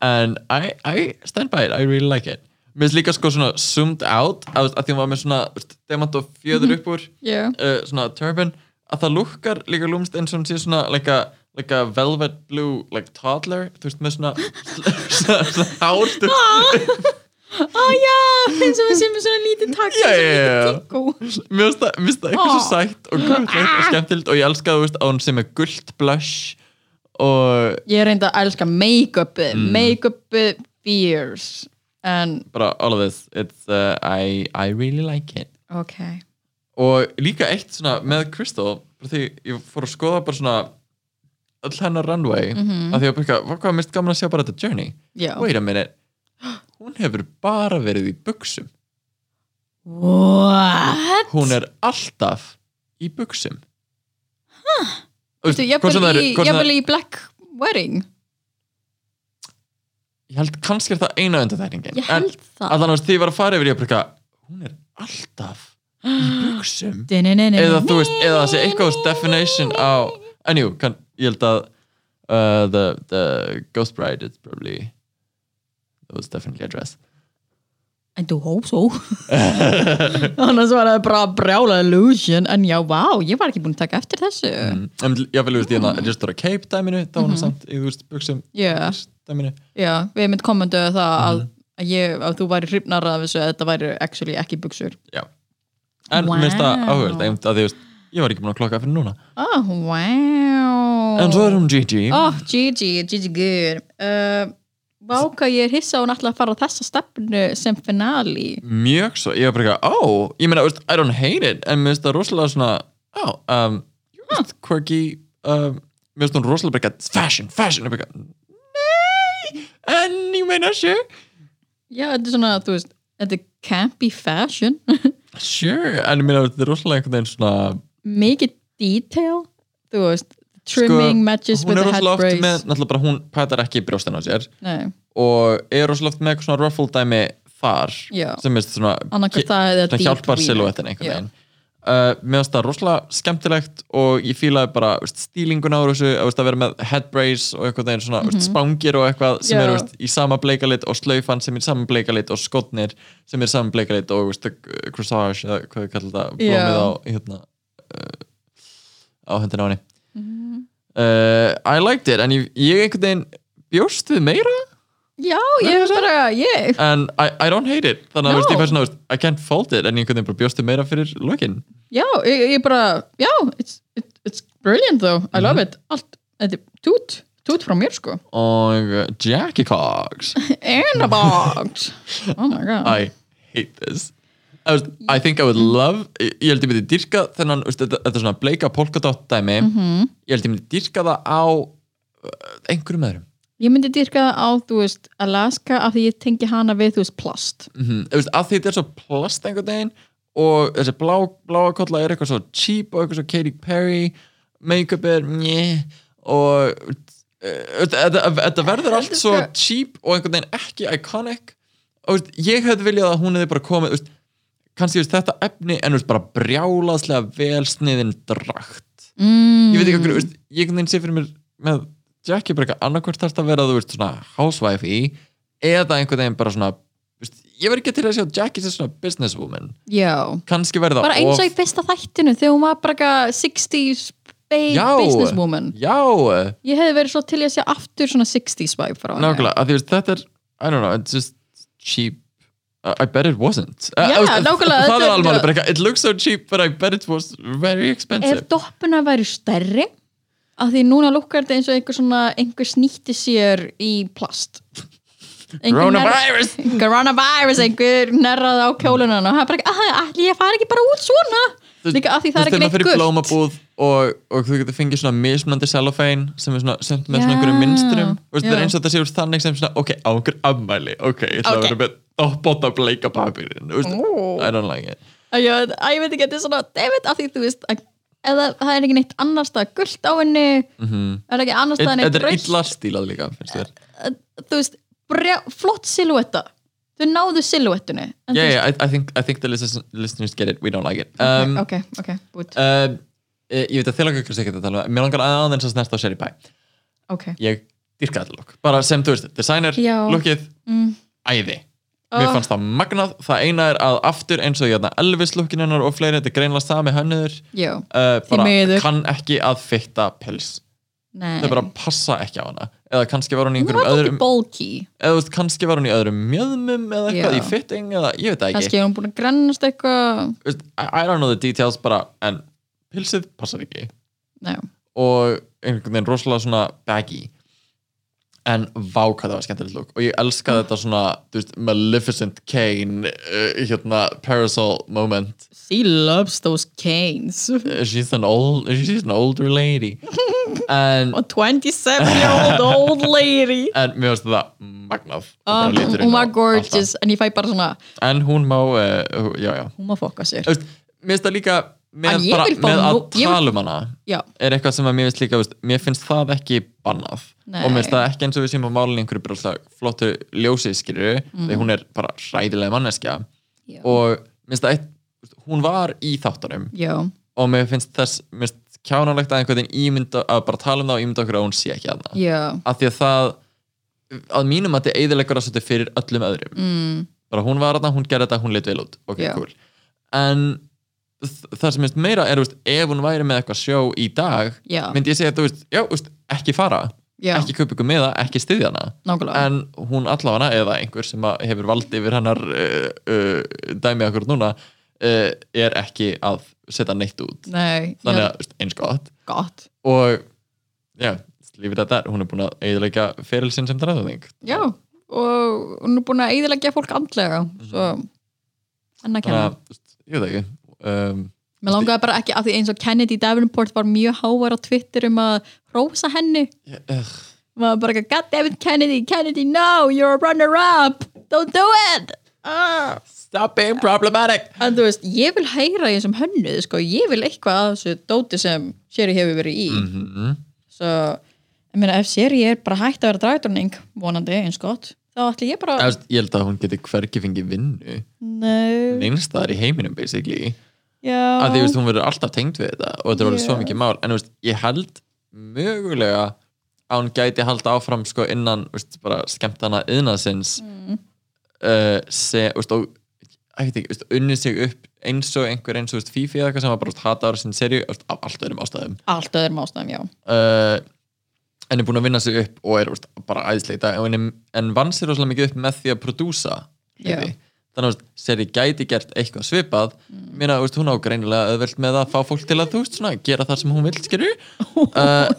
Speaker 1: en I, I stand by it, I really like it mér finnst líka sko svona zoomed out að, að því hún var með svona demant og fjöður upp úr
Speaker 2: Mhm. yeah.
Speaker 1: uh, svona turban að það lukkar líka lúmst eins og hún sé svona like a, like a velvet blue like toddler, þú veist með svona svona, svona hár þú veist.
Speaker 2: ah já, eins og það sé með svona lítið takk
Speaker 1: Já,
Speaker 2: yeah,
Speaker 1: já, já, já.
Speaker 2: yeah.
Speaker 1: mér finnst það- mér finnst það eitthvað svo
Speaker 2: Ah.
Speaker 1: sætt og gulllegt og skemmtilegt og ég elska það þú veist, að hún sé með gullt blush og
Speaker 2: ég reyndi að elska make-upið
Speaker 1: Mm.
Speaker 2: make-upið fears en,
Speaker 1: bara all of this it's, uh, I, I really like it
Speaker 2: ok
Speaker 1: og líka eitt svona með Crystal bara því ég fór að skoða bara svona öll hennar runway að því að byrja, hvað hvað mist gaman að sjá bara þetta journey
Speaker 2: Mhm. já,
Speaker 1: wait a minute hún hefur bara verið í buksum
Speaker 2: what?
Speaker 1: hún er alltaf í buksum huh.
Speaker 2: Veistu, jafnvel í, jafnvel í black wedding
Speaker 1: ég held kannski er það eina undanþækningin
Speaker 2: ég held
Speaker 1: að
Speaker 2: það
Speaker 1: þannig að því ég var að fara yfir ég bara eitthvað, hún er alltaf í buksum eða
Speaker 2: eða
Speaker 1: þú veist, eða það sé eitthvað veist, definition á, en jú, kann, ég held að uh, the, the Ghost Bride is probably that was definitely a dress
Speaker 2: I do hope so annars var það bara brjála illusion en já, vá, ég var ekki búin að taka eftir þessu
Speaker 1: mm. en ég vil veist, ég held að just ára Cape dæminu, þá var hann samt í þú veist, buksum
Speaker 2: Mhm. Já.
Speaker 1: dæminu
Speaker 2: já, við hefum kommentuð það
Speaker 1: Mhm.
Speaker 2: að, að, ég, að þú væri hrifnar af þessu að þetta væri actually ekki buksur
Speaker 1: já, en mér finnst það
Speaker 2: Wow.
Speaker 1: áhugvöld einmitt að því, þú veist, ég var ekki búin að klokka fyrir núna
Speaker 2: oh, wow
Speaker 1: en svo er hún Gigi
Speaker 2: oh, Gigi, Gigi good uh, vá, hvað ég er hissa að hún ætla að fara á þessa stefnu sem finali
Speaker 1: Mm. mjög svo, ég var bara eitthvað, ó ég meina, veist, I don't hate it, en mér finnst það rosalega svona, ó, um, you veist, quirky um, mér finnst hún rosalega bara eitthvað, fashion, fashion, og bara eitthvað, nei en ég meina sér
Speaker 2: já, þetta er svona, þú veist þetta er campy fashion
Speaker 1: Sure, en ég meina þetta er rosalega einhvern veginn svona
Speaker 2: mikið detail þú veist, trimming matches
Speaker 1: sko, Hún
Speaker 2: with
Speaker 1: er
Speaker 2: the
Speaker 1: rosalega
Speaker 2: head
Speaker 1: oft
Speaker 2: brace
Speaker 1: með, náttúrulega bara hún pætar ekki í brjóstin á sér
Speaker 2: Nei,
Speaker 1: og er rosalega oft með eitthvað svona ruffle dæmi þar
Speaker 2: Já.
Speaker 1: sem er svona,
Speaker 2: annarkvæmt það eða
Speaker 1: svona
Speaker 2: deep
Speaker 1: hjálpar
Speaker 2: V-neck.
Speaker 1: silhouettin einhvern
Speaker 2: Já.
Speaker 1: veginn Uh, mér finnst það rosalega skemmtilegt og ég fílaði bara veist, stílingun á þessu að, veist, að vera með head brace og einhvern veginn svona mm spangir og eitthvað sem
Speaker 2: Mhm. Já.
Speaker 1: eru veist, í sama bleikalit og slaufan sem er í sama bleikalit og skotnir sem er í sama bleikalit og veist, croissage eða hvað við kallum þetta blómið
Speaker 2: Já.
Speaker 1: á, hérna, uh, á höndin á henni
Speaker 2: Mhm.
Speaker 1: uh, I liked it en ég, ég einhvern veginn bjóst við meira
Speaker 2: Já, ég er bara, ég
Speaker 1: en I, I don't hate it þannig að
Speaker 2: No.
Speaker 1: no. ég fæst svona, veist, I can't fault it en ég einhvern veginn bara bjóst við meira fyrir lokin
Speaker 2: Já, ég, ég bara, já it's, it, it's brilliant though, I love it Allt, þetta er tút, tút frá mér sko
Speaker 1: og uh, Jackie Cox
Speaker 2: In a box Oh my god
Speaker 1: I hate this I, was, I think I would love ég ég held ég myndi dyrka þennan veist, þetta, þetta svona bleika polkadott dæmi ég held ég myndi dyrka það á uh, einhverjum öðrum
Speaker 2: Ég myndi dyrka það á, þú veist, Alaska af því ég tengi hana við, þú veist, plast
Speaker 1: mm veist, að því þetta er svo plast einhvern veginn og þessi blá, bláa kolla er eitthvað svo cheap og eitthvað svo Katy Perry make-up er njö og eh, veist, þetta þetta verður allt svo cheap og einhvern veginn ekki iconic og veist, ég hefði viljað að hún hefði bara komið veist, kannski veist, þetta efni en veist, bara brjálaðslega velsniðin drakt
Speaker 2: mm.
Speaker 1: ég veit ekki okkur, veist, ég einhvern veginn sé fyrir mér með Jackie bara eitthvað annarkvært þarst að vera þú veist svona housewife í eða einhvern veginn bara svona veist, ég verð ekki til að sjá Jackie sem svona businesswoman
Speaker 2: Já,
Speaker 1: kannski verða
Speaker 2: bara eins og í fyrsta þættinu þegar hún var bara eitthvað 60s babe
Speaker 1: Já.
Speaker 2: businesswoman
Speaker 1: já,
Speaker 2: Ég hefði verið svo til ég að sjá aftur svona 60s vibe frá henni
Speaker 1: nákvæmlega, að því veist þetta er I don't know, it's just cheap Uh, I bet it wasn't Uh,
Speaker 2: Já,
Speaker 1: þú veist,
Speaker 2: nákvæmlega,
Speaker 1: það
Speaker 2: þetta
Speaker 1: er
Speaker 2: er-
Speaker 1: alveg bara eitthvað, it looks so cheap but I bet it was very
Speaker 2: Ef
Speaker 1: expensive
Speaker 2: doppuna væri stærri af því núna lukkar þetta eins og einhver svona einhver snýtti sér í plast Einhver
Speaker 1: coronavirus
Speaker 2: ner- Coronavirus, einhver nerrað á kjólunan og það er bara, "Ah, ætli ég fari ekki bara út svona líka af því það er ekki neitt
Speaker 1: gult
Speaker 2: gult
Speaker 1: blómabúð og, og þú getur fengið svona mismunandi cellophane sem er svona, sem með
Speaker 2: Já.
Speaker 1: svona einhverjum minnstrum Þú veist, það
Speaker 2: Já.
Speaker 1: er eins og þetta séur þannig sem svona ok, á okkur ammæli, ok, ég ætla
Speaker 2: Ok.
Speaker 1: að vera með doppóta bleika papirin
Speaker 2: Ó.
Speaker 1: I don't like it
Speaker 2: Æ, ég veit- æ, ég veit ekki, þetta er svona David, af því þú veist að, eða það er ekki neitt annars það gult á henni það er ekki annars
Speaker 1: Mhm.
Speaker 2: það
Speaker 1: Þetta
Speaker 2: neitt
Speaker 1: er
Speaker 2: rautt
Speaker 1: illa stílað líka, finnst þér
Speaker 2: þú veist, brjá, flott silhuetta þau náðu silhuettunni en þú
Speaker 1: Yeah,
Speaker 2: veist-
Speaker 1: yeah, I, I, think, I think the listen- listeners get it, we don't like it um,
Speaker 2: ok, ok, búið
Speaker 1: um, eh, Ég veit að þér langar ekki að segja þetta tala um Mér langar aðeins að snert á Sherry Pie
Speaker 2: ok,
Speaker 1: Ég dyrka þetta lúk, bara sem þú veist designer,
Speaker 2: Já.
Speaker 1: lúkið,
Speaker 2: Mm.
Speaker 1: æði Mér fannst það magnað, það eina er að aftur eins og jæna Elvis lúkin hennar og fleiri, þetta er greinlega sami hönnuður
Speaker 2: já
Speaker 1: uh, bara
Speaker 2: miður.
Speaker 1: kann ekki að fitta pels
Speaker 2: Nei.
Speaker 1: það bara passa ekki á hana eða kannski var hún í
Speaker 2: Hún var
Speaker 1: einhverjum
Speaker 2: dálítið
Speaker 1: öðrum
Speaker 2: bulky
Speaker 1: eða þú veist, kannski var hún í öðrum mjöðmum eða eitthvað
Speaker 2: Já.
Speaker 1: í fitting eða ég veit það ekki
Speaker 2: kannski er hún búin að grannast eitthvað
Speaker 1: Þú veist, I, I don't know the details bara en pilsið passar ekki
Speaker 2: Nei.
Speaker 1: og einhvern veginn rosalega svona baggy en vá hvað það var skemmtilegt lúk og ég elska þetta svona þú veist, Maleficent Kane uh, hérna parasol moment
Speaker 2: she loves those canes
Speaker 1: Uh, she's an old she's an older lady en,
Speaker 2: a 27 year old old lady
Speaker 1: en mér finnst það magnað og bara
Speaker 2: Ah,
Speaker 1: liturinn
Speaker 2: hún
Speaker 1: og
Speaker 2: var
Speaker 1: allt
Speaker 2: gorgeous en ég fæ bara svona,
Speaker 1: það. en hún má uh, já já
Speaker 2: hún má fokka sér
Speaker 1: Þú veist, mér finnst það líka með,
Speaker 2: En ég
Speaker 1: bara,
Speaker 2: vil fá
Speaker 1: með að
Speaker 2: nú- ég vil-
Speaker 1: tala um hana
Speaker 2: já,
Speaker 1: er eitthvað sem að mér finnst líka veist, mér finnst það ekki bannað
Speaker 2: Nei.
Speaker 1: og mér finnst það ekki eins og við séum að málin einhverju brjóðslega flottu ljósið skilur
Speaker 2: Mhm.
Speaker 1: því hún er bara ræðilega manneskja
Speaker 2: Já.
Speaker 1: og mér finnst það eitt þú veist, hún var í þáttunum
Speaker 2: já,
Speaker 1: og mér finnst þess mér finnst kjánalegt að einhvern veginn ímynda að bara tala um það og ímynda okkur að hún sé ekki aðna
Speaker 2: já
Speaker 1: af því að það að mínum að þetta eiðilegur að setja fyrir öllum öðrum
Speaker 2: mm,
Speaker 1: bara hún var aðna, hún gerði þetta, hún lit vel út ok,
Speaker 2: Já.
Speaker 1: cool en þ- það sem er meira er þú veist, ef hún væri með eitthvað sjó í dag
Speaker 2: já,
Speaker 1: myndi ég segja þú veist, já, þú veist, ekki fara
Speaker 2: já,
Speaker 1: ekki kaupa ykkur miða, ekki styðja hana
Speaker 2: nákvæmlega
Speaker 1: en hún allavega, eða einhver sem að hefur valdi yfir hennar uh, uh, dæmi okkur núna uh, er ekki að setja neitt út
Speaker 2: nei,
Speaker 1: þannig
Speaker 2: já,
Speaker 1: að, þú veist, eins gott
Speaker 2: gott
Speaker 1: og já, lífið þetta er, hún er búin að eiginlega ferilsinn sem dræðaðing
Speaker 2: já, og hún er búin að eðilegja fólk andlega svo, enn að
Speaker 1: Mhm. þannig
Speaker 2: kenna
Speaker 1: að, þú veist, ég veit ekki um,
Speaker 2: Mér langaði bara ekki af því eins og Kennedy Davenport var mjög hávar á Twitter um að hrósa henni.
Speaker 1: ég, uh,
Speaker 2: Maður bara, God damn it Kennedy, Kennedy, no, you're a runner-up, don't do it. Ah.
Speaker 1: Stop being problematic
Speaker 2: En þú veist, ég vil heyra í þessum hönnuð sko, ég vil eitthvað að þessu dóti sem Sherry hefur verið í
Speaker 1: Mm. Mhm.
Speaker 2: svo, ég meina, ef Sherry er bara hægt að vera dragdurning, vonandi eins gott, þá ætli ég bara
Speaker 1: Efst, Ég held að hún geti hvergi fengið vinnu
Speaker 2: Nei,
Speaker 1: Neinstæðar í heiminum basically
Speaker 2: já
Speaker 1: að því þú veist, hún verður alltaf tengd við þetta og þetta er alveg svo
Speaker 2: Já.
Speaker 1: mikið mál en þú veist, ég held mögulega að hún gæti halda áfram sko innan þú veist, bara skemmtana yðnaðsins mm. uh, se, þú veist, og ég veit ekki, þú veist, unni sig upp eins og einhver eins og þú veist, Fifi eða eitthvað sem var bara hataður sinni serju þú veist, af allt öðrum ástæðum
Speaker 2: allt öðrum ástæðum, já
Speaker 1: uh, en er búin að vinna sig upp og er þú veist, bara æðisleita en, en, en vann sér rosalega mikið upp með því að prodúsa
Speaker 2: Já.
Speaker 1: hluti. þannig að þú veist, seri gæti gert eitthvað svipað mm. mér að hún á greinilega auðvelt með að fá fólk til að þú veist svona, gera það sem hún vil skilur uh,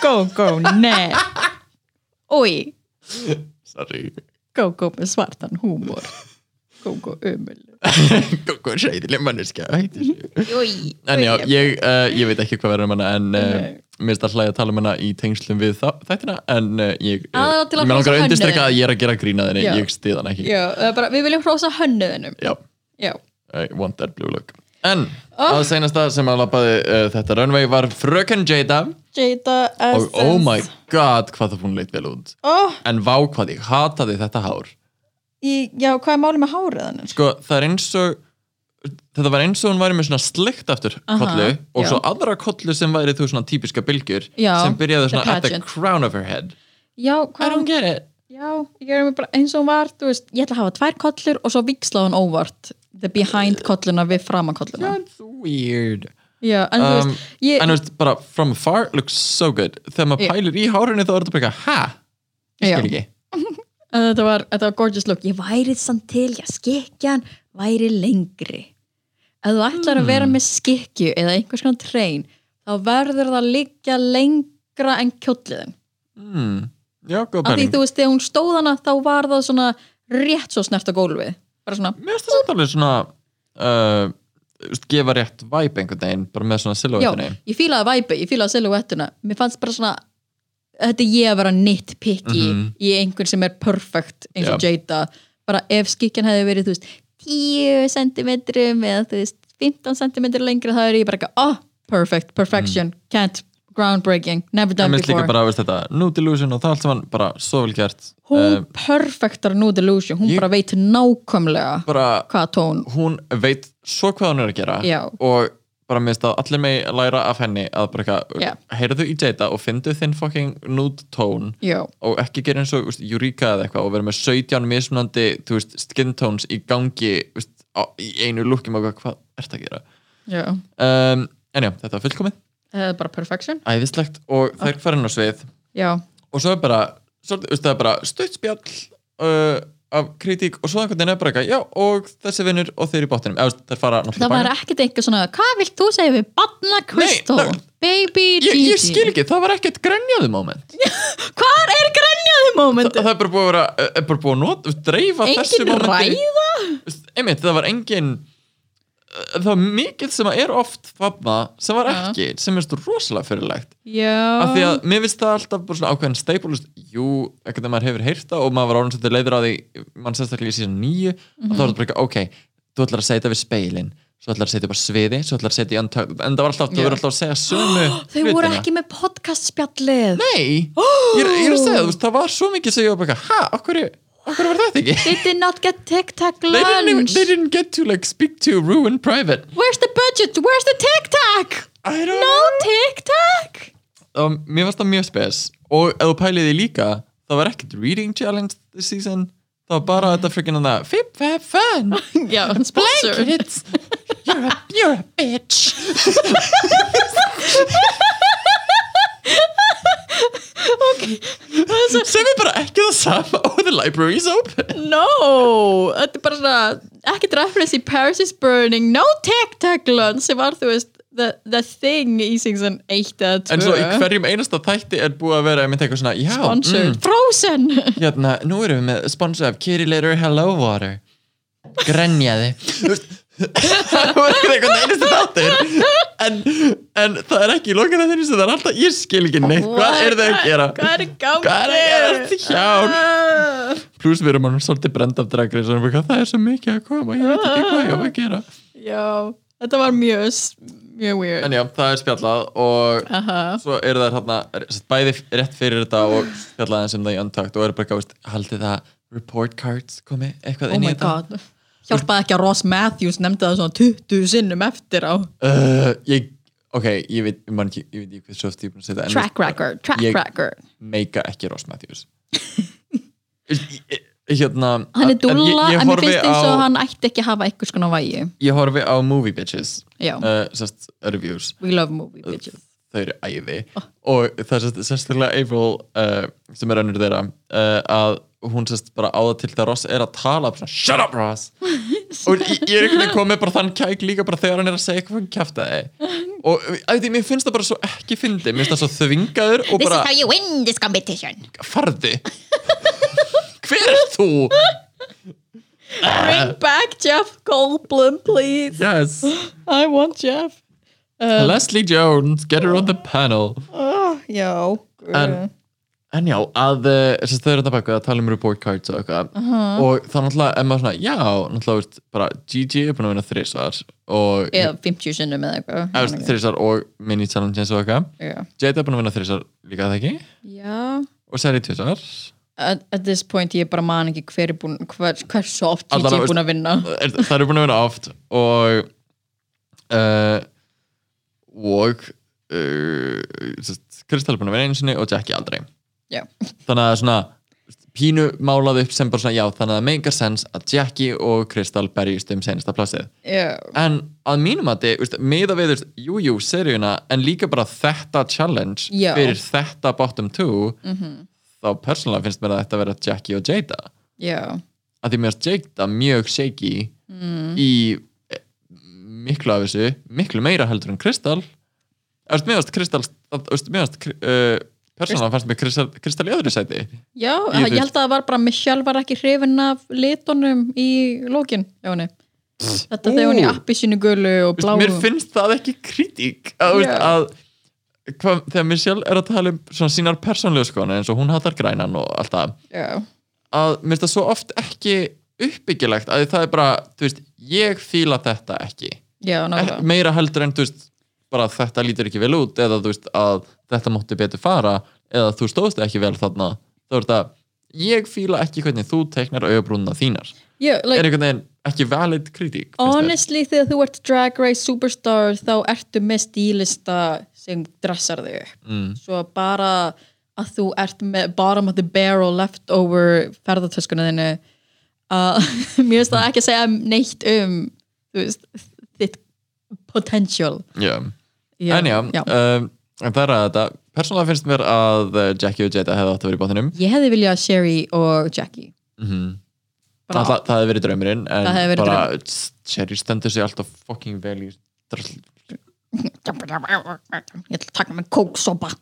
Speaker 2: Go, go, ne Úi,
Speaker 1: sorry
Speaker 2: go, go með svartan húmor Go, go, umul
Speaker 1: góð sæðileg manneska heitir sig.
Speaker 2: Úi,
Speaker 1: en já, ég, uh, ég veit ekki hvað verður um hana en uh,
Speaker 2: Nei.
Speaker 1: mér er það hlæg að tala um hana í tengslum við þá, þættina en uh, ég,
Speaker 2: Aðallega Ah, til að
Speaker 1: mér langar
Speaker 2: hrósa
Speaker 1: að undirstreka
Speaker 2: hönnuðinni.
Speaker 1: að ég er að gera grína þenni
Speaker 2: Já.
Speaker 1: ég stið hann ekki
Speaker 2: Já, það er bara, við viljum hrósa hönnuðinum
Speaker 1: Já.
Speaker 2: Já,
Speaker 1: I want that blue look En að seinasta sem að lappaði uh, þetta runway var fröken Jada
Speaker 2: Jada
Speaker 1: og
Speaker 2: Essence
Speaker 1: oh my god hvað það hún leitt vel út
Speaker 2: oh,
Speaker 1: en vá hvað ég hataði þetta hár
Speaker 2: í, Já, hvað er málið með hárið hennar?
Speaker 1: sko það er eins og þetta var eins og hún væri með svona slikt aftur
Speaker 2: Aha,
Speaker 1: kollu og
Speaker 2: já.
Speaker 1: svo aðra kollu sem væri þú svona típiska bylgjur
Speaker 2: Já,
Speaker 1: sem byrjaði
Speaker 2: the
Speaker 1: svona at the
Speaker 2: pageant.
Speaker 1: crown of her head
Speaker 2: Já, hvað er hún
Speaker 1: get it
Speaker 2: Já, ég er mér bara eins og hún var, þú veist, ég ætla að hafa tvær kollur og svo vikslaði hún óvart the behind kolluna við framakolluna
Speaker 1: That's weird
Speaker 2: Já, en þú
Speaker 1: um,
Speaker 2: veist, ég,
Speaker 1: En þú veist bara from far looks so good þegar maður
Speaker 2: Já.
Speaker 1: pælir í hárinu þá er þetta bara eitthvað ha? Ég skil
Speaker 2: Já.
Speaker 1: ekki
Speaker 2: en þetta, var, þetta var gorgeous look ég væri samt til, já, skikjan væri lengri ef þú ætlar að vera með skikju eða einhvers konar trein, þá verður það liggja lengra en kjólliðin
Speaker 1: hmm. Já, góð
Speaker 2: af því
Speaker 1: pæling
Speaker 2: þú veist, þegar hún stóð hana þá var það svona rétt svo snert á gólfið bara svona,
Speaker 1: Mér finnst það samt alveg svona uh, þú veist, gefa rétt væp einhvern veginn bara með svona
Speaker 2: já,
Speaker 1: silhouettinni
Speaker 2: ég fílaði væpi ég fílaði silhuettuna, mér fannst bara svona þetta er ég að vera nitpicky
Speaker 1: Mhm.
Speaker 2: í einhvern sem er perfect eins og
Speaker 1: Já.
Speaker 2: Jada, bara ef skikjan hefði verið, þú veist, 10 cm eða þú veist, 15 cm lengra þá er ég bara ekki, oh, perfect perfection, can't, groundbreaking
Speaker 1: Mhm.
Speaker 2: never
Speaker 1: Mér
Speaker 2: done
Speaker 1: finnst líka
Speaker 2: before,
Speaker 1: bara, veist þetta, nú delusion og það allt saman bara svo vel gert
Speaker 2: hún
Speaker 1: Eh,
Speaker 2: perfectar nú delusion, hún
Speaker 1: ég-
Speaker 2: bara veit nákvæmlega
Speaker 1: bara,
Speaker 2: hvað tón
Speaker 1: hún veit svo hvað hún er að gera
Speaker 2: Já.
Speaker 1: og bara minnst að allir megi læra af henni að bara eitthvað,
Speaker 2: Já.
Speaker 1: heyrðu í Jada og fyndu þinn fucking nude tone
Speaker 2: já,
Speaker 1: og ekki gera eins og úst, Eureka eða eitthvað og vera með 17 mismunandi þú veist, skin tones í gangi úst, á, í einu lukki og eitthvað, hvað ert að gera
Speaker 2: já,
Speaker 1: um, en já, þetta var fullkomið Ah.
Speaker 2: það er bara perfection
Speaker 1: æðislegt og þær fara inn á svið
Speaker 2: já,
Speaker 1: og svo er bara, svolítið, veist, það er bara stutt spjall uh, af kritík og svo einhvern veginn er bara eitthvað, já og þessi vinnur og þeir í botninum, eða þú veist, þær fara
Speaker 2: Það var ekkert eitthvað svona, hvað vilt þú segja við Banna Kristó,
Speaker 1: það-
Speaker 2: Baby
Speaker 1: ég,
Speaker 2: Gigi
Speaker 1: ég skil ekki, það var ekkert grenjaðu moment
Speaker 2: Hvar er grænjaði
Speaker 1: það,
Speaker 2: mómentu?
Speaker 1: það er bara búið að vera, eh, er bara búið að not, dreifa þessu
Speaker 2: Engin
Speaker 1: momenti
Speaker 2: ræða?
Speaker 1: Veist, einmitt, það var engin eh, það var mikið sem að er oft þarna sem var
Speaker 2: Já.
Speaker 1: ekki, sem er stór rosalega fyrirlegt af því
Speaker 2: Já,
Speaker 1: að mér finnst það alltaf bara svona ákveðin steipulust jú, ekkert að maður hefur heyrt það og maður var orðin svolítið leiður á því mann sérstaklega í síðan nýju og
Speaker 2: Mhm.
Speaker 1: þá var þetta bara eitthvað, ok þú ætlar að setja við speilin svo ætlar að setja upp á sviði, svo ætlar að setja í untucked en það var alltaf, þau
Speaker 2: Já.
Speaker 1: voru alltaf að segja sömu
Speaker 2: þau voru ekki með podcast spjallið
Speaker 1: nei, ég, er- ég er að segja, þú veist, það var svo mikið sem ég var bara, eitthvað, ha, okkur, okkur var þetta ekki
Speaker 2: They did not get Tic Tac
Speaker 1: they didn't, even,
Speaker 2: lunch
Speaker 1: they didn't get to like speak to ruin private
Speaker 2: Where's the budget? Where's the Tic Tac?
Speaker 1: I don't
Speaker 2: No Tic Tac
Speaker 1: um, mér finnst það mjög spes og ef þú pælið því líka það var ekkert reading challenge this season það var bara þetta frikinn að það fip fap fun
Speaker 2: Já, sponsor
Speaker 1: blankets you're a, you're a bitch sem er bara ekki það sama og the library is open
Speaker 2: No, þetta er bara svona ekkert reference í Paris is Burning No Tic Tac lunch sem var þú veist The, the thing í season 1 eða 2
Speaker 1: en svo í hverjum einasta þætti er búið að vera að mynda eitthvað svona já,
Speaker 2: sponsored
Speaker 1: Mm.
Speaker 2: Frozen
Speaker 1: hérna, nú erum við með sponsor af Kitty Later Hello Water grenjaði Þú veist, það var eitthvað einhvern einasta þáttur en, en það er ekki í lokana þeirri sem það er alltaf, ég skil ekki neitt hvað er það að gera
Speaker 2: Hvað er í gangi?
Speaker 1: Hvað er að gerast? Hjálp.
Speaker 2: Ah.
Speaker 1: pluss við erum hann svolítið brend af dragri sem við hvað það er svo mikið að koma ég veit ekki hvað ég á að gera
Speaker 2: Já, þetta var mjög, s- mjög weird.
Speaker 1: en já, það er spjallað og
Speaker 2: Aha.
Speaker 1: svo eru þær hérna bæði rétt fyrir þetta og spjallað eins um það í öndtakt og eru bara gáðist, haldið það report cards komi eitthvað
Speaker 2: Oh
Speaker 1: inn í
Speaker 2: my
Speaker 1: þetta
Speaker 2: god. Hjálpaði ekki að Ross Matthews nefndi það svona 20 sinnum eftir á
Speaker 1: uh, ég, ok, ég veit ég, man ekki, ég veit ekki hvað svo oft ég er búin að segja það en
Speaker 2: track record, track
Speaker 1: Ég-
Speaker 2: record.
Speaker 1: meika ekki Ross Matthews Ég- ég- hérna
Speaker 2: Hann er
Speaker 1: en ég-
Speaker 2: dúlla,
Speaker 1: ég
Speaker 2: en mér
Speaker 1: horfi
Speaker 2: finnst eins
Speaker 1: á-
Speaker 2: og hann ætti ekki að hafa einhvers konar vægi.
Speaker 1: ég horfi á Movie Bitches
Speaker 2: Já.
Speaker 1: uh, sest, reviews,
Speaker 2: We love movie
Speaker 1: Uh,
Speaker 2: bitches.
Speaker 1: þau eru æði og það er sest, sérstaklega April uh, sem er önnur þeirra uh, að hún sest bara á það til það Ross er að tala svona, shut up Ross og ég ég er einhvern veginn komið bara þann kæk líka bara þegar hann er að segja hvað hann kæfta þig og að því, mér finnst það bara svo ekki fyndi mér finnst það svo þvingaður og
Speaker 3: This
Speaker 1: bara
Speaker 3: is how you win this competition.
Speaker 1: farði hver er þú?
Speaker 2: Bring back Jeff Goldblum, please.
Speaker 1: Yes.
Speaker 2: I want Jeff.
Speaker 3: Um,
Speaker 1: Leslie Jones, get her on the panel.
Speaker 2: Oh, já.
Speaker 1: En- En já, að eh, sem sagt, þau eru þetta baka að tala um report cards og eitthvað og þá náttúrulega er maður svona, já, náttúrulega veist, bara Gigi er búin að vinna þrísvar og
Speaker 2: Eða 50 sinnum eða
Speaker 1: eða, veist,
Speaker 2: eitthvað.
Speaker 1: þrísvar og mini challenges og eitthvað
Speaker 2: Já.
Speaker 1: Jade er búin að vinna þrísvar líka það ekki
Speaker 2: Já.
Speaker 1: og Sari tvisvar
Speaker 2: at, at this point ég bara man ekki hver er búin hver, hversu oft Gigi
Speaker 1: Allavega,
Speaker 2: er búin að vinna
Speaker 1: Er- það eru búin að vinna oft og uh, og uh, Kristal er búin að vinna einu sinni og Jackie aldrei
Speaker 2: já,
Speaker 1: þannig að það er svona pínu málað upp sem bara svona já þannig að það meikar sens að Jackie og Kristall berjist um senasta plassið
Speaker 2: já,
Speaker 1: en að mínum að þið, meða við veist, jú, jú, seríuna, en líka bara þetta challenge
Speaker 2: Já.
Speaker 1: fyrir þetta bottom two þá persónulega finnst mér að þetta vera Jackie og Jada
Speaker 2: já
Speaker 1: að því mér finnst Jada mjög shaky í eh, miklu af þessu, miklu meira heldur en Kristall Eftir, mér finnst Kristall að- þú veist, mér finnst uh, persónulega fannst mér Kristall, Kristall í öðru sæti
Speaker 2: já,
Speaker 1: Ég
Speaker 2: ég,
Speaker 1: veit.
Speaker 2: held að það var bara Michelle var ekki hrifin af litunum í lókin hjá henni þetta þegar hún í
Speaker 1: Ú.
Speaker 2: appi sínu gulu og
Speaker 1: Veist,
Speaker 2: bláu
Speaker 1: mér finnst það ekki kritík að, veist,
Speaker 2: Já.
Speaker 1: að hva, þegar Michelle er að tala um svona sínar persónlegu skoðanir eins og hún hatar grænan og allt það
Speaker 2: já,
Speaker 1: að mér finnst það svo oft ekki uppbyggilegt að það er bara, þú veist, ég fíla þetta ekki
Speaker 2: já,
Speaker 1: Ek,
Speaker 2: náttúrulega
Speaker 1: meira heldur en, þú veist, bara þetta lítur ekki vel út eða þú veist að þetta mótti betur fara eða þú stóðst ekki vel þarna þá er þetta, ég fíla ekki hvernig þú teknar auðbrúnna þínar
Speaker 2: yeah,
Speaker 1: er
Speaker 2: like,
Speaker 1: einhvern veginn ekki valid kritík finnst þér?
Speaker 2: honestly þegar þú ert drag race superstar þá ertu með stílista sem dressar þig upp
Speaker 1: mm.
Speaker 2: svo bara að þú ert með bottom of the barrel leftover ferðartöskuna þinni að mér finnst það ekki að segja neitt um þú veist, þitt potential
Speaker 1: yeah.
Speaker 2: já,
Speaker 1: en já,
Speaker 2: já.
Speaker 1: Um, en það er að þetta persónulega finnst mér að eh, Jackie og Jada hefði átt að vera í bóttinum
Speaker 2: ég hefði viljað að Sherry og Jackie
Speaker 1: mm
Speaker 2: bara,
Speaker 1: það, það hefði verið draumurinn en
Speaker 2: Það hefði verið
Speaker 1: bara Sherry stendur sig alltaf fucking vel í drasl
Speaker 2: ég ætla að taka með kóksopa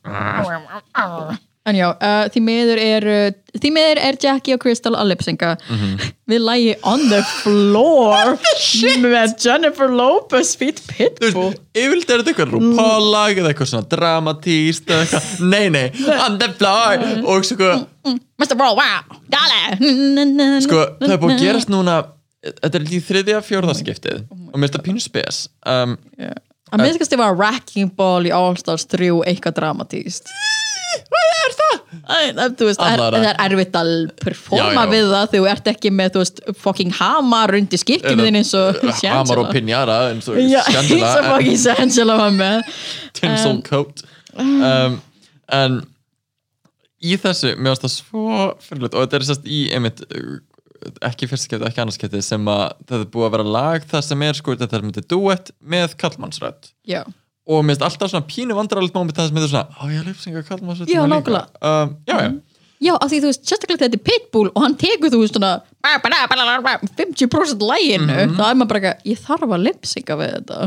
Speaker 2: en já, uh, því miður er uh, því miður er Jackie og Crystal að lipsinga
Speaker 1: Mhm.
Speaker 2: við lægi on the floor með Jennifer Lopez feet
Speaker 1: Þú
Speaker 2: pitbull
Speaker 1: veist, yfirleitt er þetta eitthvað rúpálag eða eitthvað svona dramatíst eða eitthvað, nei nei, on the floor og sko,
Speaker 2: Mr. Bro, wow, dollar
Speaker 1: sko það er búið að gerast núna þetta er í þriðja fjórðaskiptið
Speaker 2: Oh
Speaker 1: og mér finnst það pínu spes um,
Speaker 2: að
Speaker 1: eh,
Speaker 2: minnskast ég var Wrecking Ball í All Stars 3 eitthvað dramatíst
Speaker 1: hvað er það?
Speaker 2: Æ, það, þú veist, er,
Speaker 1: Allara.
Speaker 2: það er erfitt að performa
Speaker 1: Mm. Já, já.
Speaker 2: við það þegar þú ert ekki með þú veist, fucking hamar undir skikkinu þinn eins og
Speaker 1: eh, Hamar og eh. Pinjara eins og
Speaker 2: Já, eins
Speaker 1: Shangela,
Speaker 2: og
Speaker 1: en-
Speaker 2: fucking Shangela var með
Speaker 1: tinsel coat um, en í þessu, mér finnst það svo fyrirlut og þetta er sérst í einmitt uh, ekki fyrstskipti, ekki annarskipti sem að þetta er búið að vera lag það sem er sko þetta er myndið duett með kallmannsrödd
Speaker 2: Já,
Speaker 1: og mér finnst alltaf svona pínu vandrarlegt moment það sem þetta er svona, á ég er lipsinga kallmannsrödd
Speaker 2: Já,
Speaker 1: um, já, já,
Speaker 2: já af því þú veist, sérstaklega þegar þetta er Pitbull og hann tekur þú veist svona 50% læginu þá er maður bara ekki, ég þarf að lipsinga við þetta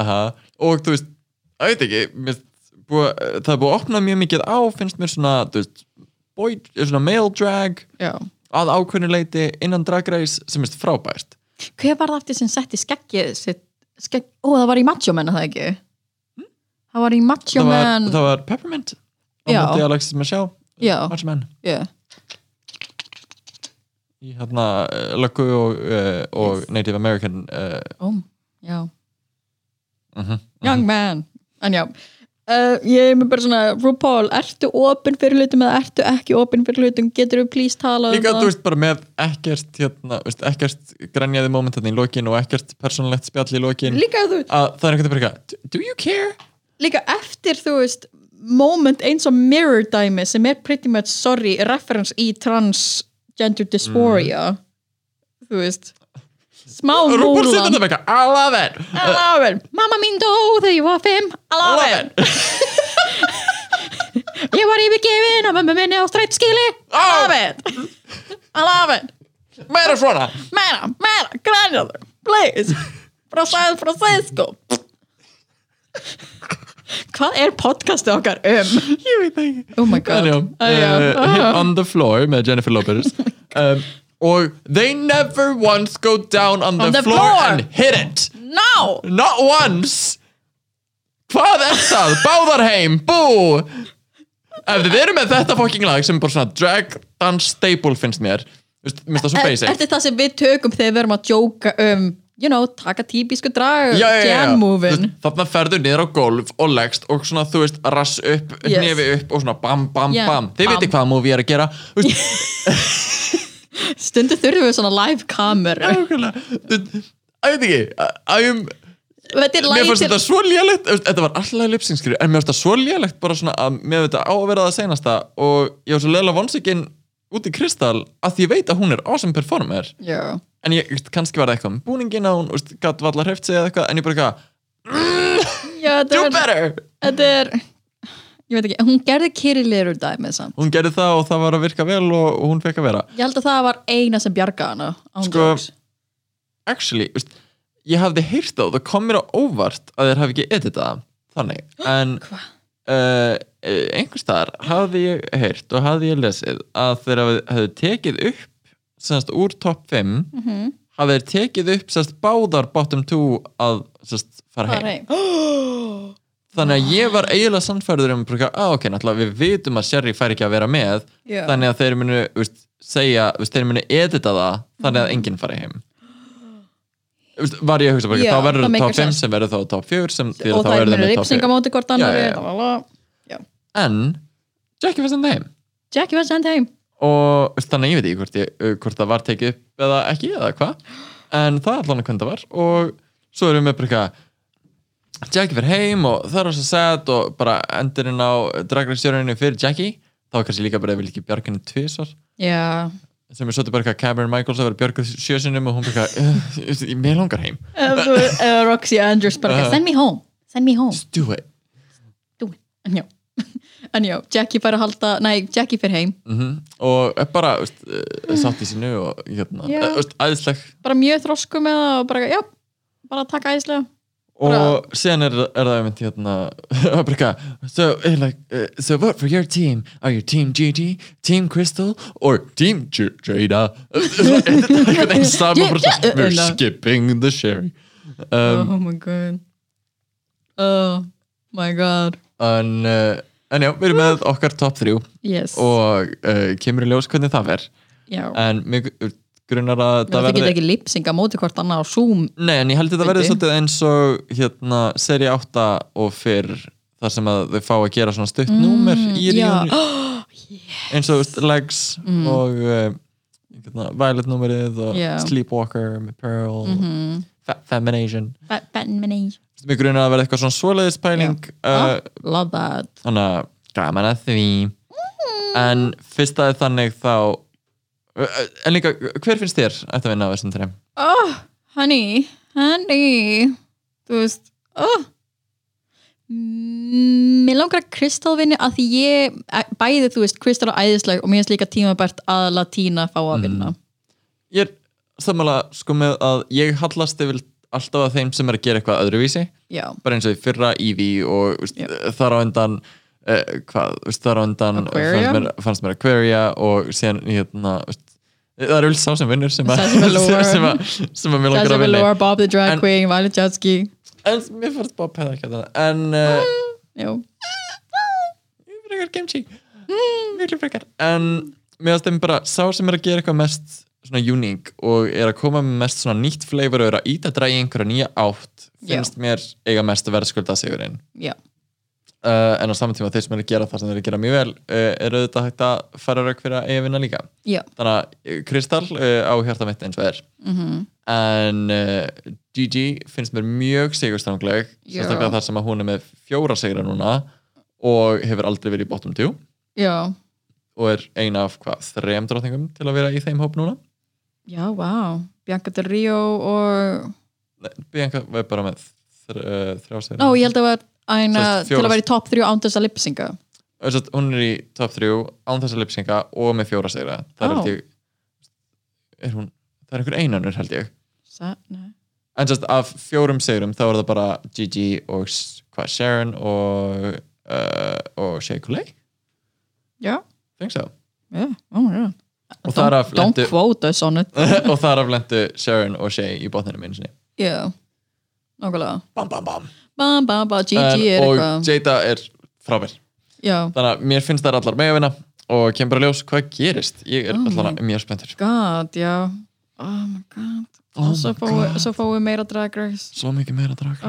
Speaker 1: aha og þú veist, að veit ekki mér finnst búið, það er búið að opna mjög mikið á finnst mér svona, þú veist boy, svona male drag
Speaker 2: Já
Speaker 1: að ákveðnuleiti innan drag race sem er frábært
Speaker 2: hver var það eftir sem setti skeggið sitt, skegg, ó það var í Macho Man er það ekki það var í Macho
Speaker 1: það var,
Speaker 2: Man
Speaker 1: það var Peppermint á
Speaker 2: Já.
Speaker 1: móti Alexis Michelle
Speaker 2: Já.
Speaker 1: Macho Man.
Speaker 2: yeah.
Speaker 1: í hérna eh, löggu og, uh, og Native American uh,
Speaker 2: Ó, já
Speaker 1: uh -huh.
Speaker 2: Young man En já, uh, ég er með bara svona RuPaul, ertu opinn fyrir hlutum eða ertu ekki opinn fyrir hlutum, getur við please tala
Speaker 1: líka
Speaker 2: um
Speaker 1: þú veist bara með ekkert hérna, veist, ekkert grænjaði moment hérna í lokin og ekkert persónulegt spjall í lokin
Speaker 2: Líka þú veist,
Speaker 1: að það er einhvern veginn bara eitthvað, "Do- do you care?
Speaker 2: líka eftir þú veist moment eins og mirror dæmi sem er pretty much, sorry, reference í transgender dysphoria
Speaker 1: Mhm.
Speaker 2: þú veist smá
Speaker 1: og Rúbúl sittur
Speaker 2: múlan
Speaker 1: þetta bara eitthvað, I love it
Speaker 2: I love it. mamma mín dó þegar ég var fimm I
Speaker 1: I
Speaker 2: love
Speaker 1: love it
Speaker 2: it. ég var yfirgefin af mamma minni á strætskili I love it I love it
Speaker 1: meira svona
Speaker 2: meira, meira, grænjaður please, frá San Francisco hvað er podcastið okkar um?
Speaker 1: ég veit það ekki
Speaker 2: oh Oh my god
Speaker 1: Anjá, uh, Hit on the floor með Jennifer Lopez um, og they never once go down on, the,
Speaker 2: the
Speaker 1: floor,
Speaker 2: floor.
Speaker 1: and hit it
Speaker 2: no
Speaker 1: not once hvað er það? báðar heim, bú ef þið eru með þetta fucking lag sem er bara svona drag dance staple finnst mér Þú veist, minnst það svo basic
Speaker 2: eftir það sem við tökum þegar við erum að jóka um you know, taka típisku drag
Speaker 1: Já, já, já, já.
Speaker 2: jam
Speaker 1: Þú
Speaker 2: move-in
Speaker 1: veist, þarna ferðu niður á gólf og leggst og svona þú veist rass upp,
Speaker 2: Yes.
Speaker 1: nefi upp og svona bam bam
Speaker 2: Já,
Speaker 1: bam þið
Speaker 2: bam.
Speaker 1: veitir hvað múfi ég er að gera Þú veist,
Speaker 2: stundu þurfum við svona live kameru
Speaker 1: nákvæmlega. Þú veist, ég veit ekki að- að ég-
Speaker 2: þetta er
Speaker 1: mér fannst
Speaker 2: lætir
Speaker 1: þetta svo lélegt þú veist, þetta var alltaf lipsingskri en mér fannst þetta svo lélegt bara svona að mér veit að á að vera það senasta og ég var svo leila vonsikinn út í Kristall að því ég veit að hún er awesome performer
Speaker 2: Já.
Speaker 1: en ég, þú veist, kannski var það eitthvað með búningina hún, þú veist, gatt var alltaf hreift sig eða eitthvað en ég bara eitthvað,
Speaker 2: Já,
Speaker 1: do
Speaker 2: þetta er-
Speaker 1: better
Speaker 2: þetta er ég veit ekki, hún gerði kyrilirur dæmið samt
Speaker 1: hún gerði það og það var að virka vel og, og hún fekk að vera
Speaker 2: ég held að það var eina sem bjarga hana án
Speaker 1: Sko,
Speaker 2: jokes.
Speaker 1: actually, veist, ég hafði heyrt það og það kom mér á óvart að þeir hafi ekki editað það þannig en
Speaker 2: Hva?
Speaker 1: uh, einhvers staðar hafði ég heyrt og hafði ég lesið að þeir hafi, hafði tekið upp semst úr topp 5
Speaker 2: Mhm.
Speaker 1: hafði þeir tekið upp semst báðar bottom 2 að semst fara heim
Speaker 2: Bara heim. Ah.
Speaker 1: þannig að ég var eiginlega sannfærður um að ah, ok, náttúrulega við vitum að Sherry fær ekki að vera með
Speaker 2: Já.
Speaker 1: þannig að þeir munu veist, segja, veist, þeir munu edita það þannig
Speaker 2: Mhm.
Speaker 1: að enginn fari heim veist, var ég að hugsa bara,
Speaker 2: Já,
Speaker 1: þá verður
Speaker 2: það
Speaker 1: top
Speaker 2: makes
Speaker 1: 5
Speaker 2: sense.
Speaker 1: sem verður þá top 4 sem því að
Speaker 2: og
Speaker 1: þá
Speaker 2: það er
Speaker 1: verður
Speaker 2: mér
Speaker 1: með top
Speaker 2: ripsing á
Speaker 1: 4
Speaker 2: móti hvort
Speaker 1: Já,
Speaker 2: annar
Speaker 1: já, já. en Jackie var senda heim
Speaker 2: Jackie var send heim
Speaker 1: og veist, þannig að ég veit ekki hvort, ég, uh, hvort það var tekið upp eða ekki eða hvað en það er allan hvernig það var og svo erum við bara eitthvað Jackie fyrir heim og það er svo sad og bara endurinn á dragrækstjöruninu fyrir Jackie þá var kannski líka bara að vilja ekki bjarginu tvisar
Speaker 2: já,
Speaker 1: sem er svolítið bara eitthvað Cameron Michaels að vera björguð sjösinum og hún bara eitthvað "Ugh, mér langar heim,
Speaker 2: eða eða Uh, Roxy Andrews bara
Speaker 1: Já.
Speaker 2: eitthvað, send me home, send me home
Speaker 1: just do it
Speaker 2: do it, en já en já, Jackie fær að halda, nei, Jackie fyrir heim
Speaker 1: mm og er bara veist, eh, sátt í sínu og hérna
Speaker 2: Já.
Speaker 1: yeah. veist, æðisleg
Speaker 2: bara mjög þrosku með það og bara, já, bara taka æslega
Speaker 1: og síðan er, er það einmitt hérna bara eitthvað so, eh, like, eh, so what for your team are you team Gigi, team Crystal or team J Jada Svo er þetta einhvern veginn saman bara
Speaker 2: Ja,
Speaker 1: svona,
Speaker 2: ja,
Speaker 1: we're
Speaker 2: ja.
Speaker 1: skipping the sherry um,
Speaker 2: oh my god oh my god
Speaker 1: en, uh, en já, við erum með okkar top 3
Speaker 2: yes,
Speaker 1: og uh, kemur í ljós hvernig það fer
Speaker 2: já
Speaker 1: en mig grunar að
Speaker 2: Menna,
Speaker 1: það
Speaker 2: það geta
Speaker 1: verði
Speaker 2: ekki lipsing á móti hvort annar á Zoom
Speaker 1: nei en ég held að það verði
Speaker 2: Fyndi.
Speaker 1: svolítið eins og hérna seri 8 og fyrr þar sem að þau fá að gera svona stutt númer í
Speaker 2: Mm, já.
Speaker 1: ríðunni eins og veist, legs og uh, hérna, violet númerið og
Speaker 2: Já.
Speaker 1: sleepwalker með pearl mm -hmm. fe femination
Speaker 3: Batman
Speaker 1: mig grunar að verði eitthvað svona svoleiðis pæling
Speaker 2: Ah.
Speaker 1: uh,
Speaker 2: love that
Speaker 1: þannig að gaman að því en fyrst að þannig þá eh, en líka, hver finnst þér ætti að vinna á þessum trefn?
Speaker 2: oh, honey, honey þú veist oh. Mm, mér langar að Kristal vinni að því ég, eh, bæði þú veist Kristal er æðisleg og mér finnst líka tímabært að Latína fá
Speaker 1: Mm.
Speaker 2: að vinna
Speaker 1: ég er sammála sko með að ég hallast yfir alltaf að þeim sem er að gera eitthvað öðruvísi
Speaker 2: já,
Speaker 1: bara eins og í fyrra Eevee og veist, þar á undan uh, hvað, veist, þar á undan
Speaker 2: Aquaria?
Speaker 1: fannst mér, fannst mér Aquaria og síðan hérna veist, það er vel sá sem vinnur sem að
Speaker 2: Sá sem að lóa.
Speaker 1: sem að, sem að mér
Speaker 2: Jazzy
Speaker 1: langar að vinni
Speaker 2: Velour, Bob the Drag
Speaker 1: En-
Speaker 2: Queen Violet Jatsky
Speaker 1: en mér fannst Bob hefða ekki að það en uh,
Speaker 2: já,
Speaker 1: frekar kimchi miklu frekar en mér fannst þeim bara sá sem er að gera eitthvað mest svona uník og er að koma með mest svona nýtt flavor og er að íta drægi einhverja nýja átt finnst mér eiga mest að verðskulda sigurinn
Speaker 2: Já.
Speaker 1: uh, en á saman tíma þeir sem eru að gera það sem þeir eru að gera mjög vel uh, eru auðvitað hægt að fara rauk fyrir að eiga vinna líka
Speaker 2: Já.
Speaker 1: þannig að uh, Kristall uh, á hjarta mitt eins og er
Speaker 2: mhm,
Speaker 1: en uh, Gigi finnst mér mjög sigurstrangleg
Speaker 2: Já.
Speaker 1: sérstaklega þar sem að hún er með fjóra sigra núna og hefur aldrei verið í bottom 2
Speaker 2: Já.
Speaker 1: og er eina af hvað, þrejum drottningum til að vera í þeim hóp núna
Speaker 2: Já, vá. Bianca Del Rio og...
Speaker 1: Nei, Bianca er bara með þr, uh, þrjá sigra
Speaker 2: Ó, ég held að var æna
Speaker 1: Svo
Speaker 2: til
Speaker 1: fjóra-
Speaker 2: að vera í top 3 án þess að lipsinga.
Speaker 1: Össat, hún er í top 3 án þess að lipsinga og með fjóra sigra það er
Speaker 2: Ó.
Speaker 1: held ég er hún, það er einhver einanur held ég
Speaker 2: Sa- nei.
Speaker 1: en sérst af fjórum sigrum þá er það bara Gigi og s- hvað, Sharon og uh, og Shea Coulee,
Speaker 2: Já.
Speaker 1: think so
Speaker 2: Já, ó, já.
Speaker 1: og þar af
Speaker 2: Don't
Speaker 1: lendu
Speaker 2: quote us on it.
Speaker 1: og þar af lendu Sharon og Shay í botninu minn sinni
Speaker 2: Já. Nákvæmlega.
Speaker 1: bam bam bam
Speaker 2: Bam, bam, bam. GG
Speaker 1: en,
Speaker 2: er
Speaker 1: og
Speaker 2: eitthvað.
Speaker 1: Jada er frábær
Speaker 2: Já.
Speaker 1: þannig að mér finnst þær allar megavina og kemur að ljós hvað gerist ég er
Speaker 2: Oh my
Speaker 1: allan mjög spenntur
Speaker 2: God, já. Oh my god.
Speaker 1: Oh
Speaker 2: og svo
Speaker 1: my
Speaker 2: fáum
Speaker 1: God.
Speaker 2: fá við meira Drag Race.
Speaker 1: svo mikið meira drag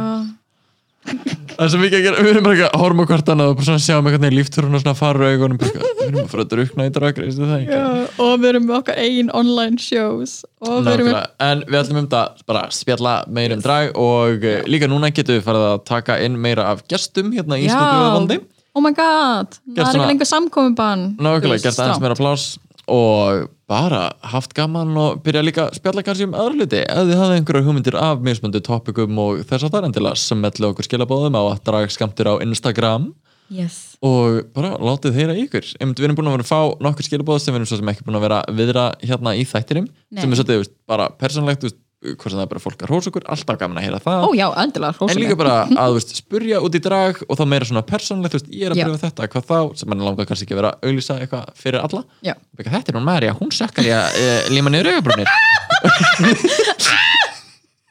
Speaker 2: Uh,
Speaker 1: það er svo mikið að gera við erum bara ekki að horfum á hvort annað og bara svona sjáum eitthvað líftúrun og svona fara augunum bara eitthvað, við erum að fara að drukna í drag race, er það ekki?
Speaker 2: já, og við erum með okkar eigin online shows. Oh, Og
Speaker 1: Nou,
Speaker 2: við erum með...
Speaker 1: Nákvæmlega. En við ætlum um þetta bara að spjalla meira um drag og eh, líka núna getum við farið að taka inn meira af gestum hérna í stundum og vondi.
Speaker 2: oh my god. Það er
Speaker 1: svona-
Speaker 2: ekki lengur samkominbann.
Speaker 1: Nákvæmlega, gert aðeins meira pláss og bara haft gaman og byrja líka að spjalla kannski um aðra hluti ef þið hafið einhverjar hugmyndir af mismundu topikum og þess að það er endilega sem mellu okkur skilabóðum á að drag skamtir á Instagram
Speaker 2: Yes.
Speaker 1: og bara látið þeirra í ykkur Einmitt, við erum búin að vera að fá nokkur skilabóð sem við erum svo sem ekki búin að vera að viðra hérna í þættinum
Speaker 2: Nei.
Speaker 1: sem er svolítið þú veist, bara persónlegt þú veist, hvort sem það er bara fólk að hrósa okkur alltaf gaman að heyra það
Speaker 2: Ó já, endilega,
Speaker 1: en
Speaker 2: hrósulega.
Speaker 1: líka bara að þú veist, spurja út í drag og þá meira svona persónlegt, þú veist, ég er að
Speaker 2: Já.
Speaker 1: pröfa þetta hvað þá, sem mann langar kannski ekki að vera að auglýsa eitthvað fyrir alla,
Speaker 2: Já.
Speaker 1: Beka, þetta er hún Marja, hún sekkar ég að eh, líma niður augabrúnir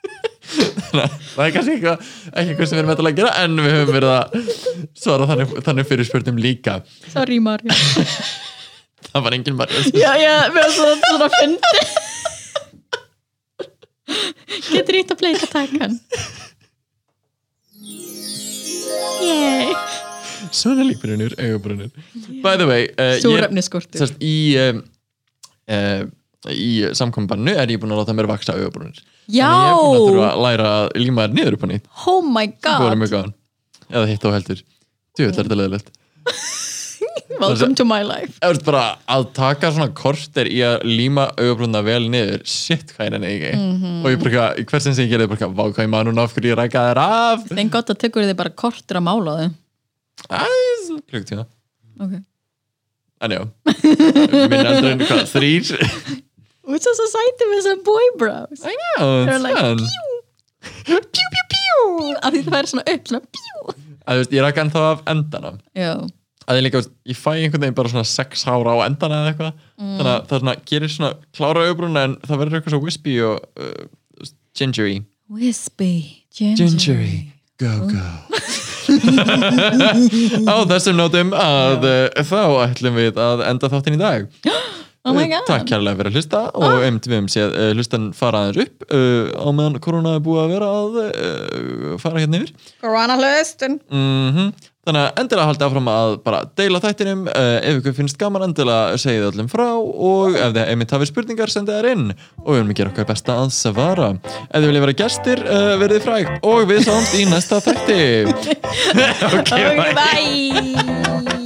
Speaker 1: það er kannski eitthvað ekki eitthvað sem við erum eitthvað að gera en við höfum verið að svara þannig, þannig fyrir spurningum líka
Speaker 2: Sorry, Marja.
Speaker 1: það var engin Marja
Speaker 2: já, já, við erum svona, svona fyndi. Getur ítt að pleita takkan. Yay.
Speaker 1: svona líkbrunir, augabrunir by the way uh, ég,
Speaker 2: Súrefniskortur.
Speaker 1: sérst, í um, uh, í samkombannu er ég búin að láta mér vaksa augabrunir
Speaker 2: Já.
Speaker 1: Þannig ég er búin að þurfa að læra að líma þær niður upp á nýtt
Speaker 2: Oh my
Speaker 1: Það
Speaker 2: god.
Speaker 1: var mjög gaman Eða hitt á heldur Djúvill er þetta leðilegt
Speaker 2: Welcome to my life.
Speaker 1: Ef þú ert bara að taka svona korter í að líma augabrúnna vel niður Shit, hvað er henni ekki Og ég bara, í hvert sinn sem ég gerði bara Vá, hvað ég maður núna af hverju ég rækka þær af
Speaker 2: Þeim gott að tekur þið bara kortur að mála þau.
Speaker 1: Æs, klukktíma
Speaker 2: Okay.
Speaker 1: En já, minn aldrei en hvað, þrýr
Speaker 2: Which is a sæti með þessar boy brows.
Speaker 1: I know,
Speaker 2: They're like,
Speaker 1: fun.
Speaker 2: Pjú, pjú, pjú. Af því það er svona upp, svona pjú.
Speaker 1: Að þú veist, ég rækka ennþá af endanum
Speaker 2: Já,
Speaker 1: að ég líka, veist, ég fæ einhvern veginn bara svona sex hára á endana eða eitthvað
Speaker 2: Mm.
Speaker 1: þannig að það svona, gerir svona klára auðbrúna en það verður eitthvað svo wispy og uh, gingery
Speaker 2: wispy, gingery.
Speaker 1: go go
Speaker 2: Mm.
Speaker 1: á þessum nótum að uh, þá ætlum við að enda þáttinn í dag Uh,
Speaker 2: Oh my god. Ah.
Speaker 1: Takk kærlega fyrir að hlusta og um við um séð uh, hlustan fara aðeins upp uh, á meðan korona er búið að vera að uh, fara hérna yfir
Speaker 2: Corona hlustun.
Speaker 1: Mhm. Þannig að endilega haldið áfram að bara deila þættinum, uh, ef ykkur finnst gaman endilega segið öllum frá og ef þið einmitt hafið spurningar sendið þær inn og við erum að gera okkar besta að svara Ef þið viljið vera gestir, uh, verðið fræg og við sáumst í næsta þætti
Speaker 2: Bye.